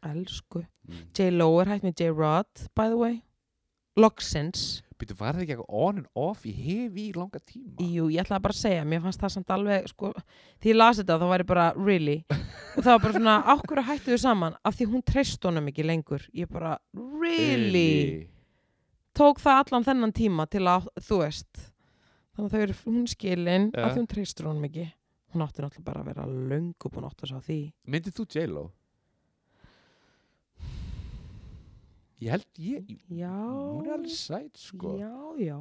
elsku,
Mm.
J-Lo er hægt með J-Rod by the way, Loxins
Býtu, var það ekki eitthvað on and off í hefi í langa tíma?
Jú, ég ætlaði bara að segja, mér fannst það samt alveg sko, því ég las þetta þá var ég bara really og það var bara svona, ákveður hættu þau saman af því hún treyst honum ekki lengur ég bara, really, tók það allan þennan tíma til að, þú veist þannig að þau eru hún skilin
Ja.
af því hún treystur honum ekki hún átti náttúrulega bara að vera löngu búin átt að sá því
Myndið þú J-Lo? Ég held ég,
Já,
hún er alveg sæt sko
já, já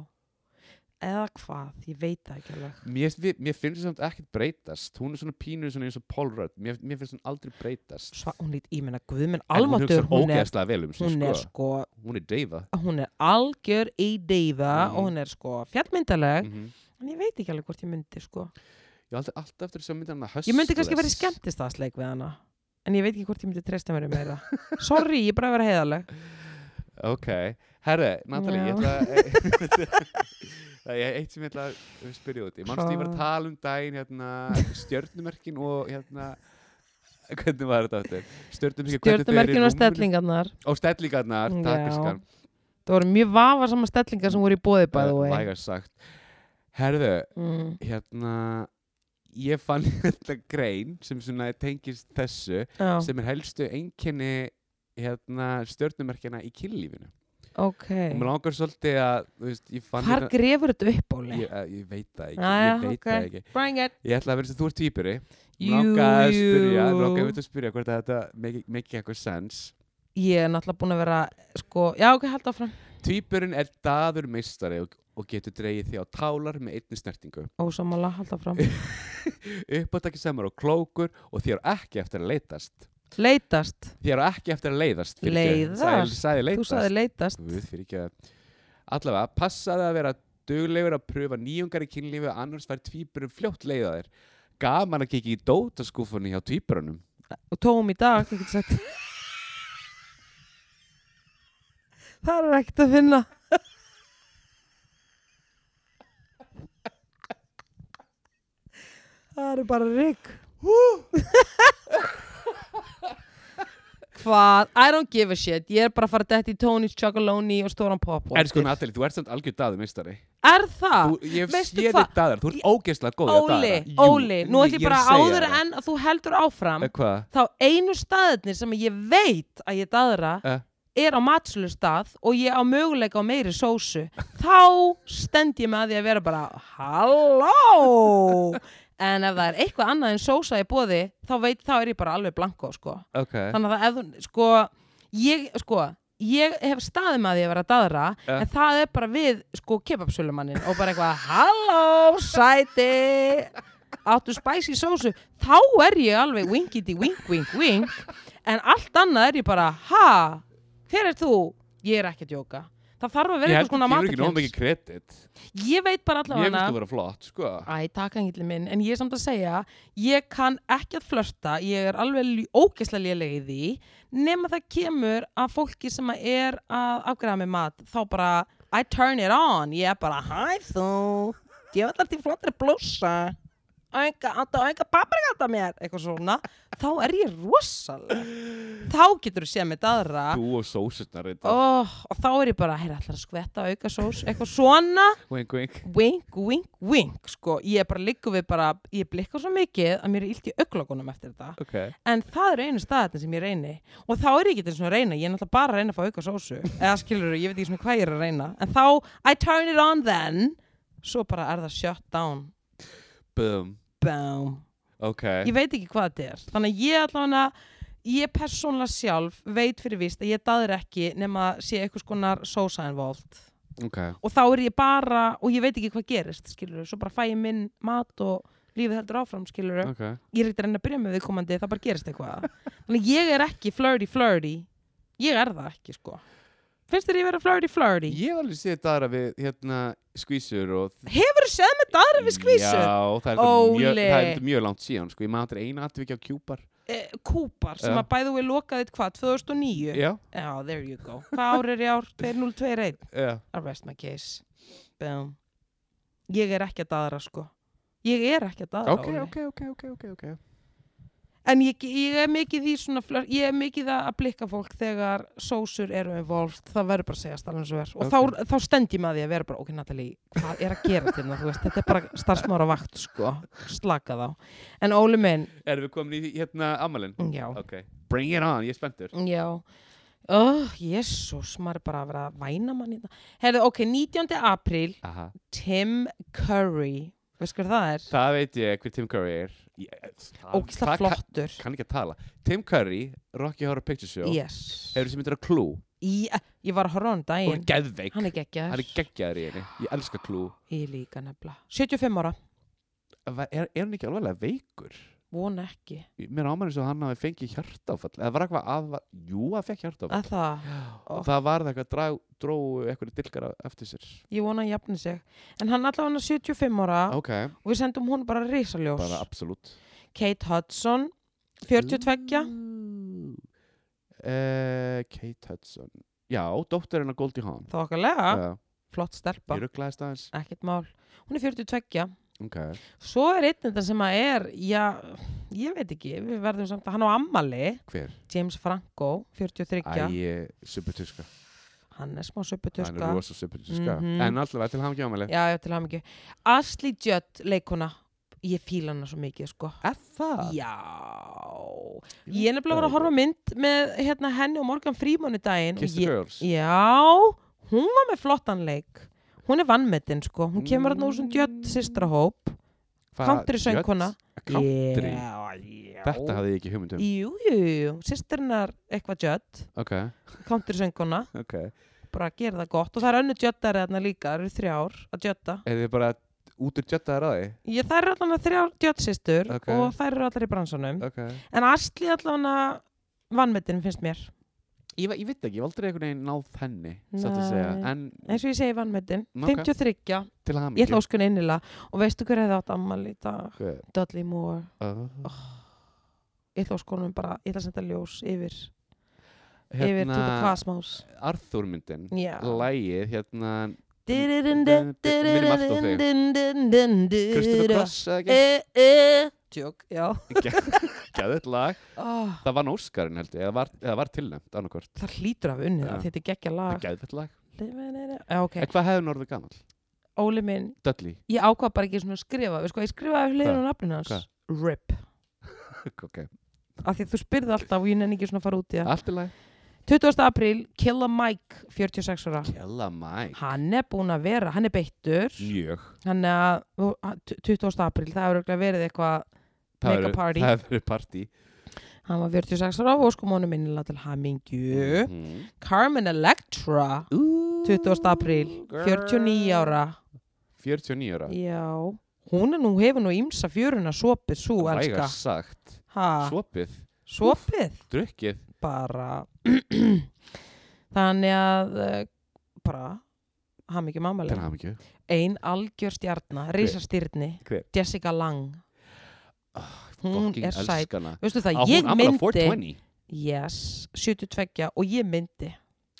eða hvað, ég veit það ekki alveg
mér, við- mér finnst það samt ekkert breytast hún er svona pínu svona eins og Paul Rudd mér, mér finnst hún aldrei breytast
Sva, hún lít, ég meina Guðminn
En
Almatur
hún
hún er,
hugsar ógeðslega vel um sig
hún er
sko.
sko
hún er deyfa
hún er algjör í deyfa
Mhm.
og hún er sko fjallmyndaleg
mm -hmm.
en ég veit ekki alveg hvort ég myndi sko
ég held alltaf eftir þess að mynda hann að
ég myndi kannski verið skemmtistaðsleik við hana en ég veit ekki hvort ég myndi treysta mér um meira sorry, ég er bara að vera heiðaleg
ok Herre, Natalie,
Já.
<laughs> ég ætla að Það er eitt sem ég ætla að spyrja út í Manstu ég var að tala um daginn hérna, stjörnumerkin og hérna hvernig var þetta aftur? Stjörnumerkin, hvernig þau eru í
Stjörnumerkin og
rúminu-
stellingarnar.
Og stellingarnar,
Já.
takk elskan
Það voru mjög vafarsama stellingar sem voru í bóði bæði og einn.
Vægast sagt Herðu,
Mm.
hérna ég fann <laughs> þetta grein sem svona tengist þessu
Já,
sem er helstu einkenni hérna, stjörnumerkina í kynlífinu
ok.
og mér langar svolítið að þú veist, ég fann hérna-
Hvar grefur þetta upp, Óli?
ég, eh, ég veit það ekki,
Jæja,
ég veit
ok.
það ekki
Bring it.
ég ætla að vera eins og þú ert týpuri
Jú,
langar að spyrja,
jú.
langar að spyrja hvort að þetta make, make eitthvað sens
Ég er náttúrulega búin að vera, sko, já, ok, held áfram.
týpurinn er daður meistari og, og getur dreigið því á tálar með einni snertingu
Ósamála, held áfram.
<laughs> uppáttakki samar og klókur og þér ekki eftir að leitast
Leitast.
þér ekki eftir að leiðast fyrirgefðu. Sæl-
Leiðast?
sagði
Þú
leitast
sagði leitast.
Guð fyrir ekki að Allavega, passaði að vera duglegur að pröfa nýjungar í kynlífi annars væri tvíburum fljótt leiða þér Gaman að kikið í dótaskúfunni hjá tvíburunum
Og tóm í dag, ekki sett. Það er ekkert að finna. Það eru bara rigg. Hvað? I don't give a shit. Ég er bara að fara að detta í Tony's Chocolonely og stóran pop.
En sko Natalie, þú ert samt algjör daður meistari
Er það?
Þú, ég hef
Ah, veistu
séð
hvað?
þig daður, þú ert ógeðslega góð í að
Óli,
daðra. Jú,
Óli, nú ætlum ég bara
að segja
áður
það.
en að þú heldur áfram
Eh, Hvað?
þá einu staðirnir sem ég veit að ég daðra
Eh.
er á matslustad og ég á möguleika á meiri sósu þá stend ég með að því að vera bara halló en ef það er eitthvað annað en sósa í bóði þá veit þá er ég bara alveg blanko sko.
Ok,
þannig að það ef þú- sko ég, sko, ég hef staðið með að því að vera daðra
Eh.
en það er bara við sko kebabsölumannin og bara eitthvað halló sæti áttu spicy sósu þá er ég alveg winkity wink wink wink en allt annað er ég bara ha, hver er þú? ég er ekki að djóka það þarf að vera
ég
eitthvað
held
svona
að gefur ekki nóg
matakens
mikið kredit
ég veit bara
Ég
allavega Ah.
finnst þú vera flott, sko
Æ, takk angillin minn, en ég er samt að segja ég kann ekki að flörta ég er alveg ljú- ógeðslega léleg í því nema það kemur að fólki sem að er að afgræða með mat þá bara, I turn it on ég er bara, hæ þú ég vil alltaf flottri blósa auka, áttu auka paprikata mér eitthvað svona, þá er ég rosaleg þá getur þú séð mitt aðra
Þú og sósutnar þetta oh.
oh, og þá er ég bara, heyrðu, ætlar að skvetta auka sós, eitthvað svona
Wink, wink
wink, wink, wink sko, ég er bara liggur við bara ég blikka svo mikið að mér er illt í auglokunum eftir þetta,
Ok
en það eru einu staðarnir sem ég reyni, og þá er ég ekki þess að reyna ég er náttúrulega bara að reyna að fá auka sósu eða skilur, ég veit ekki svona hvað ég er að reyna en þá, I turn it on then svo bara er það shut down
Boom
boom,
Ok
ég veit ekki hvað þetta er þannig að ég allavega ég persónlega sjálf veit fyrir víst að ég daður ekki nema að sé eitthvað skonar sósa involved
Ok
og þá er ég bara, og ég veit ekki hvað gerist skilur, svo bara fæ ég minn mat og lífið heldur áfram, skilur
Ok
ég er ekkert að reyna að byrja með viðkomandi, það bara gerist eitthvað þannig að ég er ekki flirty flirty ég er það ekki, sko finnst þér ég vera flirty flirty?
Ég hef alveg séð daðra við hérna skvísur og
Hefur þú séð með daðra við skvísu?
Já, það er þetta mjög,
Óli.
það er þetta mjög langt síðan sko. Ég maður þetta er eina atvik á kjúpar
Eh, Kúpar, sem
Já.
að bæðu við lokaðið hvað, 2009?
Já,
Já, there you go. Hvað ár er ég ár? 2021.
já
I rest my case. Boom. Ég er ekki að daðra, sko. Ég er ekki að daðra,
Ok,
Óli.
ok, ok, ok, ok, ok
En ég, ég er mikið í svona flör, ég er mikið að að blikka fólk þegar sósur eru involved, það verður bara að segja stallum svo verð. Og þá, þá stend ég með því að vera bara, ok Natalie, hvað er að gera til það, þú veist, þetta er bara starfsmára vakt, sko, slaka þá. En Óli minn,
Erum við komin í hérna ammalinn?
já,
Ok Bring it on, ég er spenntur
já, oh, jésús, maður er bara að vera að væna mann í það. Herðu, ok, 19. apríl,
Aha.
Tim Curry, veist hver það er?
Það veit ég hver Tim Curry er Ég- það-
Ógislega
það kann-
flottur.
Kann ekki að tala Tim Curry, Rocky Horror Picture Show
Yes.
Hefur þessi myndir að Clue
Ég, ég var að horfa á hann um
Og er
daginn,
geðveik
hann er geggjaður.
Hann er geggjaður í henni Ég elska Clue
Ég líka nefnilega. 75 ára,
Va- Er, er hann ekki alveg veikur?
vona ekki.
Mér ámæður eins og hann hafi fengið hjartáfall Eða var eitthvað að Jú, hann fekk hjartáfall
Að það,
og það var það eitthvað drá, dróu eitthvað dilgar á- eftir sér
ég vona að jafni sig. En hann allavega hann er 75 ára
ok,
og við sendum hún bara risaljós.
bara absolutt
Kate Hudson, 42,
Mm. uh, Eh, Kate Hudson já, dóttir hennar Goldie Hawn
þokkalega,
Já,
flott stelpa
ég rugglaðist aðeins
ekkert mál, hún er 42
ok,
svo er einn þetta sem að er já, ég veit ekki, við verðum samt hann á ammali,
hver?
James Franco 43,
Æ, supertuska
hann er smá
hann
söputuska
er rosa supertuska
Mhm.
en alltaf til hann ekki ámæli
já, já, til hann ekki Asli Judd, leikuna ég fíla hana svo mikið, sko
er það?
já, Ég er nefnilega að voru að horfa á mynd með hérna, henni og Morgan Freeman í daginn. og
Kiss the
ég,
Girls
Já, hún var með flottan leik. Hún er vannmetinn, sko. Hún kemur hérna úr sem
Mm.
djött sýstrahóp.
Hvað,
country söngkona.
Judd? Country?
Já, já.
Þetta hafði ég ekki hugmynd um
Jú, jú, jú. Sýstrinnar eitthvað djött.
Ok,
Country sönguna.
ok
Bara að gera það gott. Og það er önnu djöttari þarna líka. Það eru þrjár að djötta.
Er þið bara út úr djöttaðar á því?
Ég, það eru allan þrjár djöttsýstur
Ok.
og það eru allar í bransanum.
Ok
En Asli allan að vannmetinn finnst mér.
Ég, ve- ég veit ekki, ég hef aldrei einhvern veginn náð henni Satt að segja
Nei.
En
Eins og ég segi vannmetinn.
Ok.
53.
til hann
Ég ætla óskun innilega og veistu hver hefði átt ammali í dag?
Hver?
Dudley Moore.
Oh.
Ég ætla óskunum bara, ég ætla að senda ljós yfir, yfir to the
Hérna,
cosmos.
Arthur myndin
Já.
Lægið, hérna Minnum allt á þig. Kristoffer
Kristoffer
Cross eða ekki?
Tjók, Eh, já.
Gæðið lag
Oh,
Það var Óskarinn held ég, eða var, eða var tilnæmt annarkvort
það hlýtur af unnið
Já.
það, þetta er geggja lag.
Gæðið lag
Já, Ah. ok.
En hvað hefði norðið gamall?
Óli minn,
Dudley
ég ákvað bara ekki svona að skrifa, við sko, ég skrifaði hliðin á nafninu
Hvað?
hans. RIP.
okay.
Af því að þú spyrði alltaf og ég nenni ekki svona að fara út í það.
Allt í lag
20. apríl, Killa Mike, 46 ára.
Kella Mike
Hann er búinn að vera, hann er beittur
Mjög
hann er að þú- hann- 20. apríl, það hefur örugglega verið eitthvað
Það
Make a
verður-
party.
Það hefur verið party
hann var 46 ára og sko mónu minnilega til hamingju
Mhm.
Carmen Electra 20. apríl,
girl.
49 ára
49 ára
já, hún er nú hefur nú ímsa fjöruna sopið svo
Vægar
elska Ah.
sagt
ha,
Svopið
sopið
Drukkið
bara <clears throat> þannig að eh, bara hamingju
Til
mammalega
hann ekki
ein algjör stjarnar, risastyrni
Hver? Ah,
Jessica Lang Hún
Fucking
er sæt.
elskana
veistu það,
Á
ég
hún ammala
myndi
420
Yes, 72 og ég myndi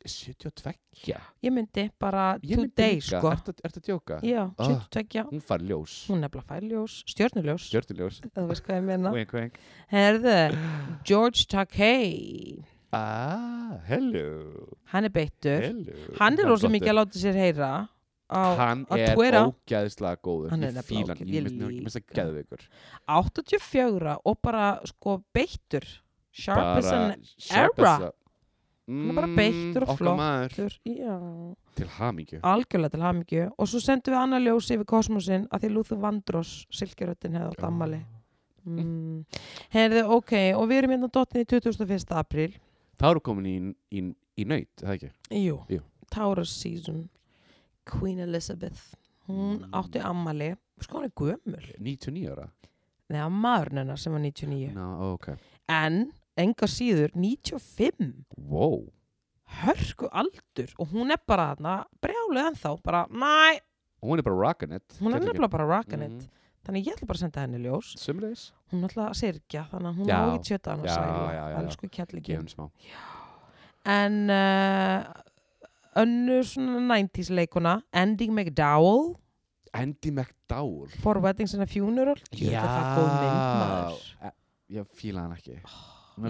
72
ég myndi bara
Ég myndi
today
líka.
sko
Ertu ertu að djóka?
Já,
Ah.
72
Hún far ljós
hún er nefnilega fæljós, stjörnuljós
Stjörnuljós
þú veist hvað ég menna
Wink wink
Herðu,
<gasps>
George Takei
Ah, hello
hann er beittur
Hello
hann er rosa
flottur.
mikið að láta sér heyra á
Hann
á
er
Twitter.
ógæðislega góður
Hann er
Ég
nefnilega
fíla hann,
ógeð-
Ég
ég
myndi hann að
líka.
geðveikur
84 og bara sko beittur sharp as an
sharp
arrow.
as a-
er bara beittur og
Mm, okkar
flottur.
maður.
Já.
Til hamingju
algjörlega til hamingju og svo sendum við annað ljósi yfir kosmosin að því Lúþu Vandrós silkiröttin hefði átt ammali mm. Herðu, ok, og við erum hérna dottin í 21. apríl
Það eru komin í, í, í nöyt, það ekki?
Jú,
Jú.
Taurus season Queen Elizabeth hún
Mm.
átti ammali sko hún er gömul,
99 ára?
neða maðurinn hennar sem var 99
Ná, ok.
en enga síður 95
Wow.
hörku aldur og hún er bara þarna brjálu ennþá, bara næ
Hún er bara rockin' it.
hún er nefnilega bara rockin' it
Mhm.
þannig ég ætla bara að senda henni ljós
Sumleis?
hún er alltaf að sirkja, þannig að hún
Já.
á ekki tjöta hann að
Já, já,
sæla,
já, já.
alls sko kjallikin
Gefum smá.
en uh, önnur svona 90s leikuna Andy McDowell
Andy McDowell.
For Weddings and a Funeral Ég held að það er góð mynd maður Ah,
E- Ég fíla hann ekki.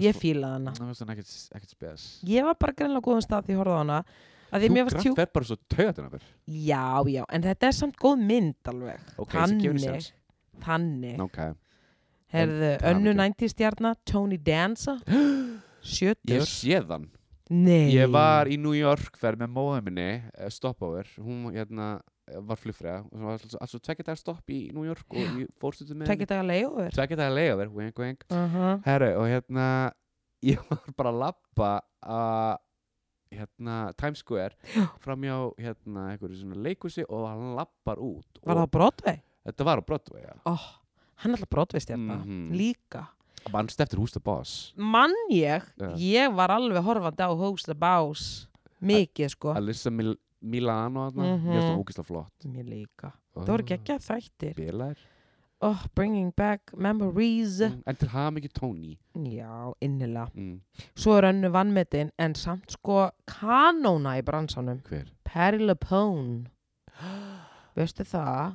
ég fílaði hana
Mér finnst hann ekkert, ekkert spes.
ég var bara greinlega á góðum stað því ég horfði á hana að því mér
Þú
varst
grænt
tjú
verð bara svo töðan af þér.
já já en þetta er samt góð mynd alveg
Ok, þessi gefur
þannig
henni séns.
þannig
Ok.
herðu
til
önnu
hamingju.
90 stjarnar Tony Danza 70
<gasps> Ég séð hann.
nei
Ég var í New York ferð með móðum minni, eh, stopover, hún hérna eh, var flugfræða og það var alls- alls og tvekja dagar stopp í New York og ég fórstuði með
tekja dagar leiður
tvekja dagar leiðaver, wink wink
uh
Herru, og hérna ég var bara að lappa að hérna, Times Square framjá hérna einhverju svona leikhúsi og hann lappar út
var
og
það Broadway
þetta var á Broadway, já
oh, hann er alltaf Broadway stjarnar
Mhm.
líka
Manst eftir Who's the Boss
mann ég
Já.
ég var alveg horfandi á Host the Bows mikið sko
Alyssa Mil Milano, mm
Mhm.
-hmm. ég er svona ógislega flott
mér líka það voru geggja þættir
Bilar
oh, bringing back memories
Mm, En til hafa mikið Tony
já, innilega
mm.
svo er önnu vannmetin en samt sko kanóna í bransanum
Hver?
Perry LaPone veistu það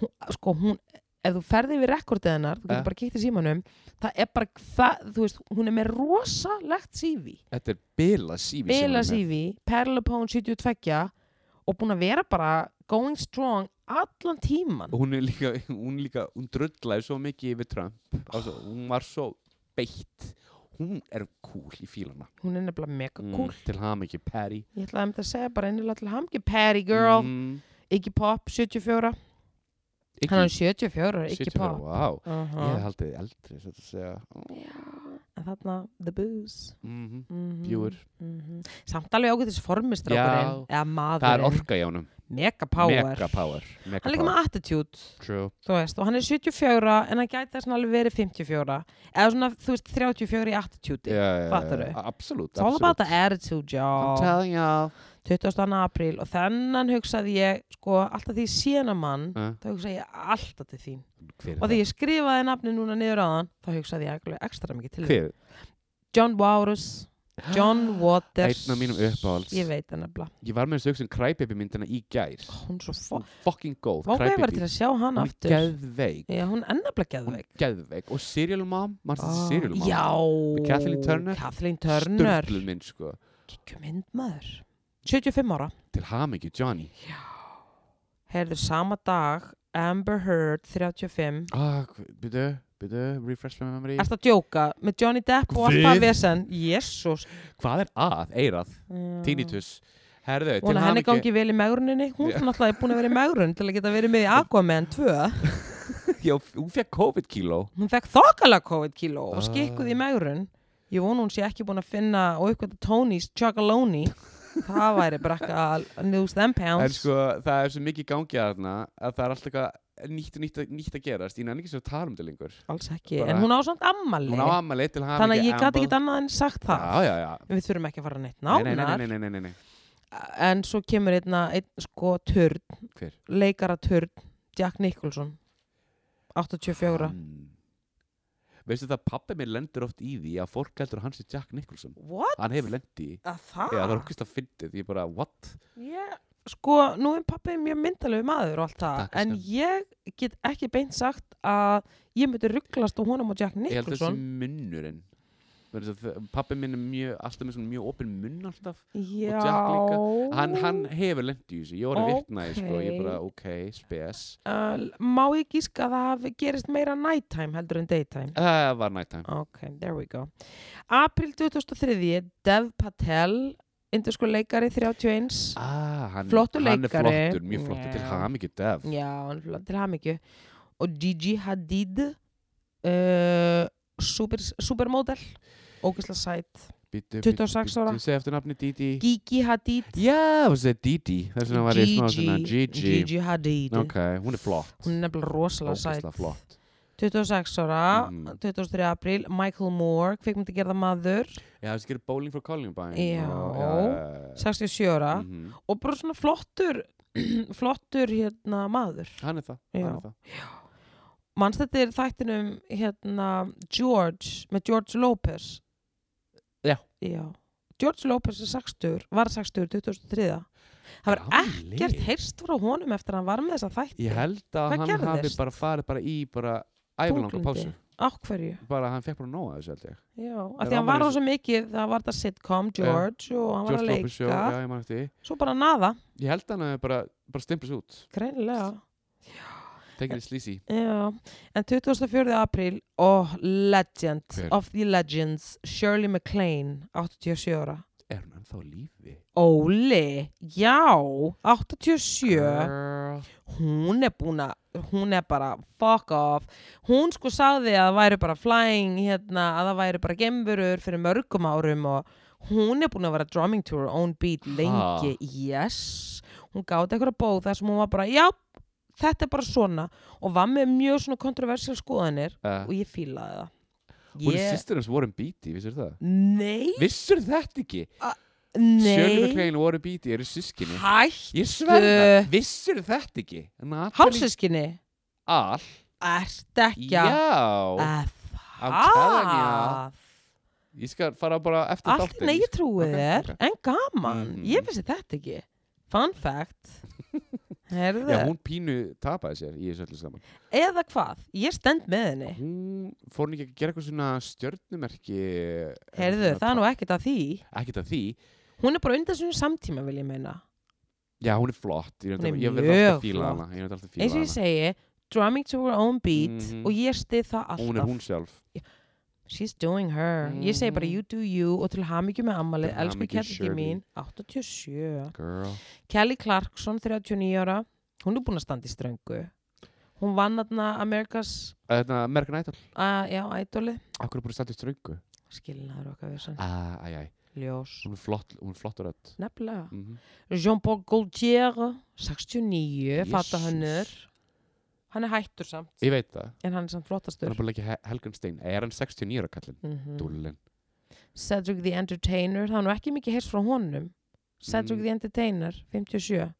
hún, sko hún ef þú ferði við rekordið hennar, þú getur
Eh.
bara kíkt í símanum það er bara, það, þú veist hún er með rosalegt CV
Þetta er Bila Sývi
Bila CV, Perry LaPone 72 og búin að vera bara going strong allan tíman
Hún er líka, hún líka, hún drullaði svo mikið yfir Trump
Ah.
Ásvo, Hún var svo beitt Hún er cool í fílana
hún er nefnilega mega cool
Mm, Til hafa mikið Perry
ég ætlaði um þetta að segja bara einnilega til hamki Perry girl,
mm,
Iggy Pop 74
Iggy-
hann er 74, Iggy
74,
Pop
Vá,
uh
ég hef haldið þið eldri Þetta að segja
en þarna The Booze
mm
mm
Bjúgur
samt alveg ágætis formistrákurinn
Já.
eða
Það er
maðurinn,
orka í honum
mega power
Mega power Mega
hann er líka
power.
með attitude
True
þú veist, og hann er 74 en hann gæti þess að alveg verið 54 eða svona, þú veist, 34 í attitude
yeah,
fattarðu?
Absolutt
it's all about the attitude,
I'm
já
telling y'all
22. apríl og þennan hugsaði ég sko, alltaf því ég sé hana mann
Eh,
þá hugsaði ég alltaf til þín
Hver
og því ég skrifaði nafni núna niður á hann þá hugsaði ég alveg ekstra mikið til þín
Hver?
John Waters
<gasps>
John Waters
Einn af mínum uppáhalds.
ég veit hann nefnilega
Ég var með þessu hugsun Crybaby myndina í gær
hún er svo fó
Hún fucking góð
Vá, ég var til
Crybaby
að sjá hann
Hún er
aftur
geðveik
Já, hún er nefnilega
Hún er
geðveik
geðveik Og Serial Mom Marstu
Ah,
þessi Serial Mom
Já
Með Kathleen Turner.
Kathleen Turner
Sturluð minn sko
Kikku myndmaður 75 ára
Til hamingi Johnny
Herðu sama dag Amber Heard 35
ah, hv- Byrju, byrju, refresh my memory
Ertu að djóka með Johnny Depp og allt
Guð.
það vesen Jésús
Hvað er að? Eirað Tinnitus Herðu,
Vona Ah. Mm.
til
henni
hamingi
gangi vel í megruninni Hún
Já.
er náttúrulega búin að vera í megrun til að geta verið með í Aquaman 2
Já, hún fekk COVID-kíló
Hún fekk þokkalega COVID-kíló og
Ah.
skikkuð í megrun Ég vona hún sé ekki búin að finna og eitthvað Tony's Chocolonely Það væri bara eitthvað news them
En
pounds
sko, það er svo mikið í gangi að þarna að það er alltaf eitthvað nýtt og nýtt, að- nýtt að gerast. Ég nenni ekki svo að tala um þetta lengur.
Alls ekki,
Bara-
en hún á samt ammali
Hún á ammali til hafa
Þannig að ég gæti ekki annað en sagt það
Já, já, já.
Við þurfum ekki að fara neitt
Nei,
nánar
nei, nei, nei, nei, nei, nei.
En svo kemur einna, einn sko törn
Hver?
Leikara törn, Jack Nicholson 84
Hann- Hmm. Veistu það, pappi minn lendir oft í því að fólk heldur að hans er Jack Nicholson.
What?
Hann hefur lendi í.
Að það?
Já, það er okkist að fyndið. Ég bara, what?
Ég- Sko, nú er pappi mjög myndalegu maður og allt það
Takk,
En
elskan.
ég get ekki beint sagt að ég myndi rugglast á honum og Jack
Ég held þessi
Nicholson
munnurinn. Vegna þess að Pappi minn er mjög, alltaf með svona mjög opinn munn alltaf.
Já
Jack líka. Hann, hann hefur lendi í þessu. Ég var að vitna í, sko. Ég
Ókei.
bara, ok, spes.
Uh, Má ég gíska að það hafi gerist meira nighttime heldur en daytime
Það var nighttime.
Ok, there we go. April 2003, Dev Patel, indusku leikari 31.
Ah, hann,
Flottur
hann er
leikari.
flottur, mjög flottur til
Já.
hamingju def
Já, hann er flott, til hamingju. Og Gigi Hadid, uh, super, supermodel, ógislega sætt.
Bíddu,
26
bíddu,
ára.
bíddu, segðu eftir nafni Didi
Gigi Hadid.
Já, það segir Didi Þess vegna var ég smá svona Gigi
Gigi Hadid.
Ok, hún er flott
Hún er nefnilega rosalega
Ógeðslega
sætt.
flott
26 ára,
Mhm.
23 april, Michael Moore, kvikmyndi gerða maður,
Já, það skilur Bowling for Columbine
Já.
og- já,
67 ára
já, mhm.
og bara svona flottur, <clears throat> flottur hérna maður.
Hann er það,
Já.
hann er það
mannst þetta er þættinum hérna George með George Lopez
Já.
George Lopez er 60 var 60 2003 það var
Gamli.
ekkert heyrst frá honum eftir að hann var með þessa þætti
Ég held að
Hvað
hann hafi
gerðist?
bara farið bara í bara æfilanga
Þunglyndi.
pásu
á hverju
bara hann fekk bara nóga þessu held ég
já, af
Er
því hann
afmælis-
var á svo mikið það var þetta sitcom George og hann var
George
að
Lopez Show,
leika
já, ég man eftir því.
svo bara naða,
Ég held að hann hafi bara, bara stimplast út
greinilega
Tekir þið slísi
Já, en 24. apríl og legend
Hver?
of the legends Shirley MacLaine, 87 ára
Er hann ennþá á lífi?
Óli, já, 87,
Girl.
hún er búin að, hún er bara fuck off, hún sko sagði að það væri bara flying hérna, að það væri bara gemburur fyrir mörgum árum og hún er búin að vera drumming to her own beat lengi, yes, hún gáði eitthvað bóð þar sem hún var bara, já, þetta er bara svona og var með mjög svona kontroversial skoðanir
Uh,
og ég fílaði það.
Hún er
Ég,
sýstir hans Warren Beatty, vissir það?
nei,
Vissir þetta ekki? Shirley
nei,
MacLaine og Warren Beatty eru sískinni
hætt,
Ég sverða, vissir þetta ekki? Natalie
hálsískinni.
Al
ert ekki að
Já,
að
I'm telling
það.
ég skal fara bara eftir
Allt
þáttinn,
nei, ég
sko.
trúi
Ok,
þér,
ok.
en gaman.
Mhm.
Ég vissi þetta ekki. Fun
<laughs>
fact. Herðu.
Já, hún pínu tapaði sér í þessu öllu saman
Eða hvað? Ég stend með henni.
Hún fór hún ekki að gera eitthvað svona stjörnumerki
Herðu, það er nú ekkert að því.
Ekkert að því
Hún er bara undan svona samtíma, vil ég meina.
Já, hún er flott Ég
Hún er
verði alltaf
mjög
að fíla hana Ég verði alltaf að fíla
Eins og ég
hana
segi, drumming to her own beat
Mhm.
og ég stið það alltaf.
Hún er hún sjálf
She's doing her. Ég segi bara
Mhm.
you do you og til hamingju með ammalið,
Til
elsku
hamingju,
kætti
Shirley.
mín, 87.
Girl
Kelly Clarkson, 39 ára, hún er búin að standa í ströngu. Hún vann aðna Amerikas,
Þetta merkan ætl
uh, já, ædoli,
Akkur er búin að standa í ströngu
skilnaður okkar við sann,
Æ, æ, æ
ljós.
Hún er flott Hún er flott og rödd
Nefnilega.
Mhm.
Jean-Paul Gaultier, 69,
Jesús.
fata hönnur. Hann er hættur samt,
Ég veit það
en hann er samt flottastur.
Hann er búin að leggja Hel- Helgan Stein Er hann 69 ára kallinn?
Mm
Dúllinn
Cedric the Entertainer, það er nú ekki mikið heyrst frá honum. Cedric
Mm.
the Entertainer, 57.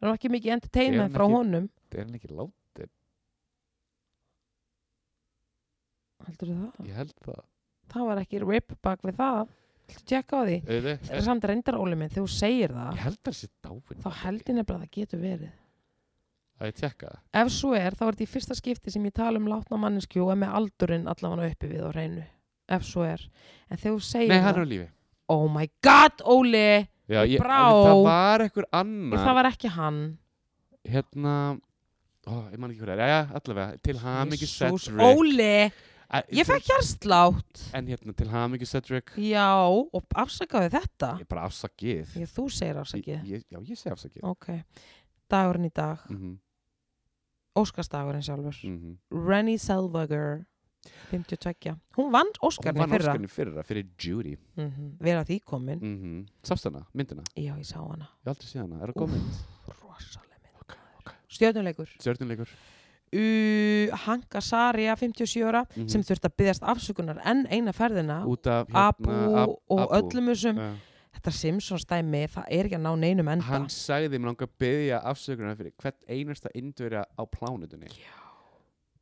Það er nú ekki mikið entertainment
hann
frá
ekki-
honum.
Er hann ekki látt?
Heldur það?
Ég held það
Það var ekki rip bak við það. Heldur tjekka á því?
Auðvitað,
Það er samt reyndar óli minn, þegar þú segir það,
Ég held það sér dáin
þá held ég nefnilega að það getur verið.
Það ég tjekka það
Ef svo er, þá er þetta í fyrsta skipti sem ég tala um látna manneskju og er með aldurinn allavega uppi við á reynu. Ef svo er. En þegar þú segir
Nei, hann
það,
er á lífi
oh my god, Óli,
Já, ég,
Brá.
það var einhver
það
annar
var ekki hann.
hérna ó, ég man ekki hverja, já, allavega til hamingi
Jesús,
Cedric
Óli,
Æ,
ég fekk hjarslátt.
en hérna til hamingi Cedric
Já, og afsakaðu þetta.
ég er bara afsakið
Ég, þú segir
Ég-
afsakið.
ég- já, ég segi afsakið
Ok. Dagurinn í dag.
mm -hmm,
Óskarsdagurinn sjálfur.
mhm.
Rennie Selvager 52. Hún vann
hún
Óskarni
vann
fyrra
Óskarni fyrra fyrir Judy
mm
Mhm.
vera því komin
mm -hmm. sástana, myndina,
já ég sá hana
ég hef aldrei séð hana er það góð mynd,
rosaleg mynd
Ok, ok.
stjörnuleikur
stjörnuleikur
U Hanka Saria 57 ára
Mhm. hérna,
sem þurft að byggðast afsökunar enn eina ferðina
út af
Abu
Ab-
og
Abu.
öllum þessum
Já.
þetta Simpsons dæmi það er ekki að ná neinum enda
hann sagði mér langar að byggja afsökunar fyrir hvert einasta indverja á plánutunni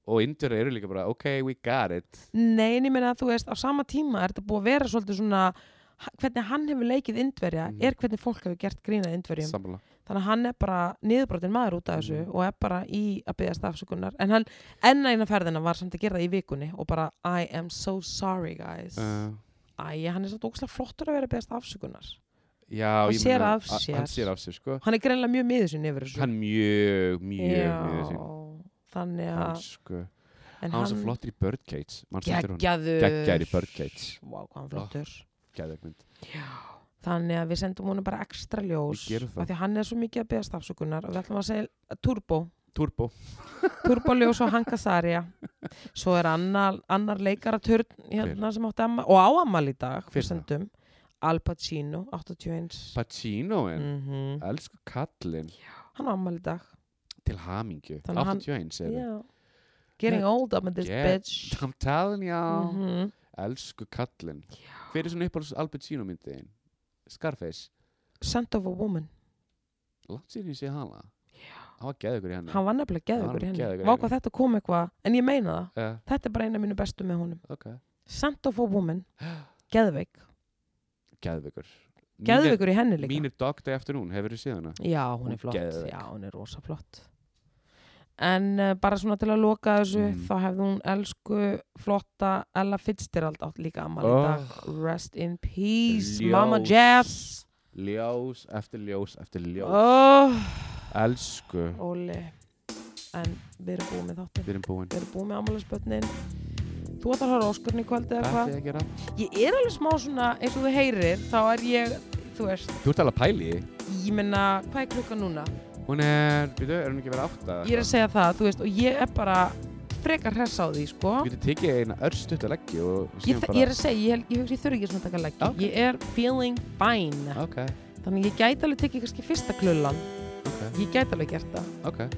og indverja eru líka bara ok, we got it
Nei, en ég meina að þú veist, á sama tíma er þetta búið að vera svolítið svona h- hvernig hann hefur leikið indverja
Mhm.
er hvernig fólk hefur gert grínað indverjum
sammála
þannig að hann er bara niðurbrotin maður út af þessu
Mhm.
og er bara í að byggja afsökunar en hann, enn eina ferðina var samt að gera það í vikunni og bara I am so sorry guys
uh,
Æ, hann er samt ógslag flottur að vera að byggja afsökunar
Já,
Hann
ég
sér
meina,
af
a- Hann
sér.
sér af sér, sko
hann er greinlega mjög miður sinni yfir þessu
Hann mjög, mjög miður sín
þannig að
Hann, sko
en
Hann var svo flottur í Birdcage Manstu eftir honum?
geggjaður
Geggjaður í Birdcage.
Vá, hvað hann flottur
Geðveik mynd.
þannig að við sendum honum bara ekstra ljós
Við gerum það.
af því að hann er svo mikið að beðast afsökunar og við ætlum að segja turbo
Turbo
turbo ljós og hanga sarja svo er annar, annar leikara törn hérna sem átti amma, og á ammal í dag
Hver er
við
það?
sendum Al Pacino 81
Pacino en
mm
Elsku kallinn
hann á ammal í dag
Til hamingju
Þannig að hann-
81 er
yeah. getting old up in this
Yeah.
bitch
<laughs> það I'm telling you
mm -hmm.
Elsku kallinn Hver er svona uppáhalds Al Pacino myndin? Scarface
Scent of a Woman
Látt sér ég sé hana Hann var geðugur í henni
hann var nefnilega geðugur í
Hann var geðveikur
henni
í
vá
henni.
hvað þetta kom eitthvað en ég meina það
uh,
þetta er bara eina mínu bestu með honum
Ok
Scent of a
<gasps>
Woman geðveik
Geðugur
geðveikur í henni líka
Mínir Dog Day Afternoon Hefur þú séð hana?
já, hún
Hún
er flott,
geðveik.
já, hún er rosa flott en uh, bara svona til að loka þessu
Mm.
þá hefði hún elsku flotta Ella Fitzgerald átt líka amal í
Oh.
dag rest in peace,
Ljós.
mamma Jess
Ljós eftir ljós eftir ljós
oh,
Elsku
Óli en við erum búið með þáttin
Við erum búin
við erum búið með amalarspötnin þú ætlar að höra Óskarni í kvöld eða
Hvað ætti
hvað
ég að gera?
ég er alveg smá svona, eins og þú heyrir þá er ég, þú veist
Þú ert alveg að pæli í því.
ég menna, hvað er klukka núna?
Hún er, býtu, er hún ekki verið átta?
ég er að segja það, þú veist, og ég er bara frekar hress á því, sko
Þú getur tekið eina örstutt að leggja og
ég,
síðan
þa- ég er að segja, ég, held- ég hugsa ég þurfi ekki svona að taka leggi
Ok.
ég er feeling fine
Ok,
þannig ég gæti alveg tekið kannski fyrsta klullan
ok,
ég gæti alveg gert það
ok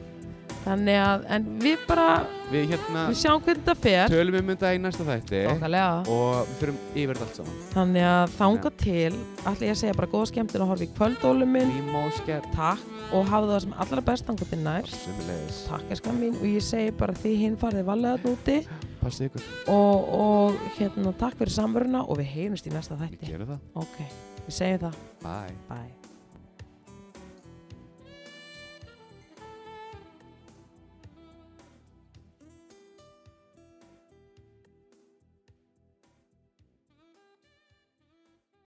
þannig að, en við bara
Við hérna
við sjáum hvernig þetta fer
tölum um þetta í næsta þætti
Þokkalega.
og við fyrum yfir þetta allt saman
þannig að þanga til ætla ég að segja bara góða skemmtun og horfi í kvöldólu minn
Við má skert
takk og hafa það sem allra best þanga til nær
Sumulegis
takk eskan mín og ég segi bara því hinn farið valega þarna úti
Passið ykkur
og, og hérna takk fyrir samveruna og við heyrumst í næsta
Við
þætti
gerum það
ok, við segjum það,
Bye
bye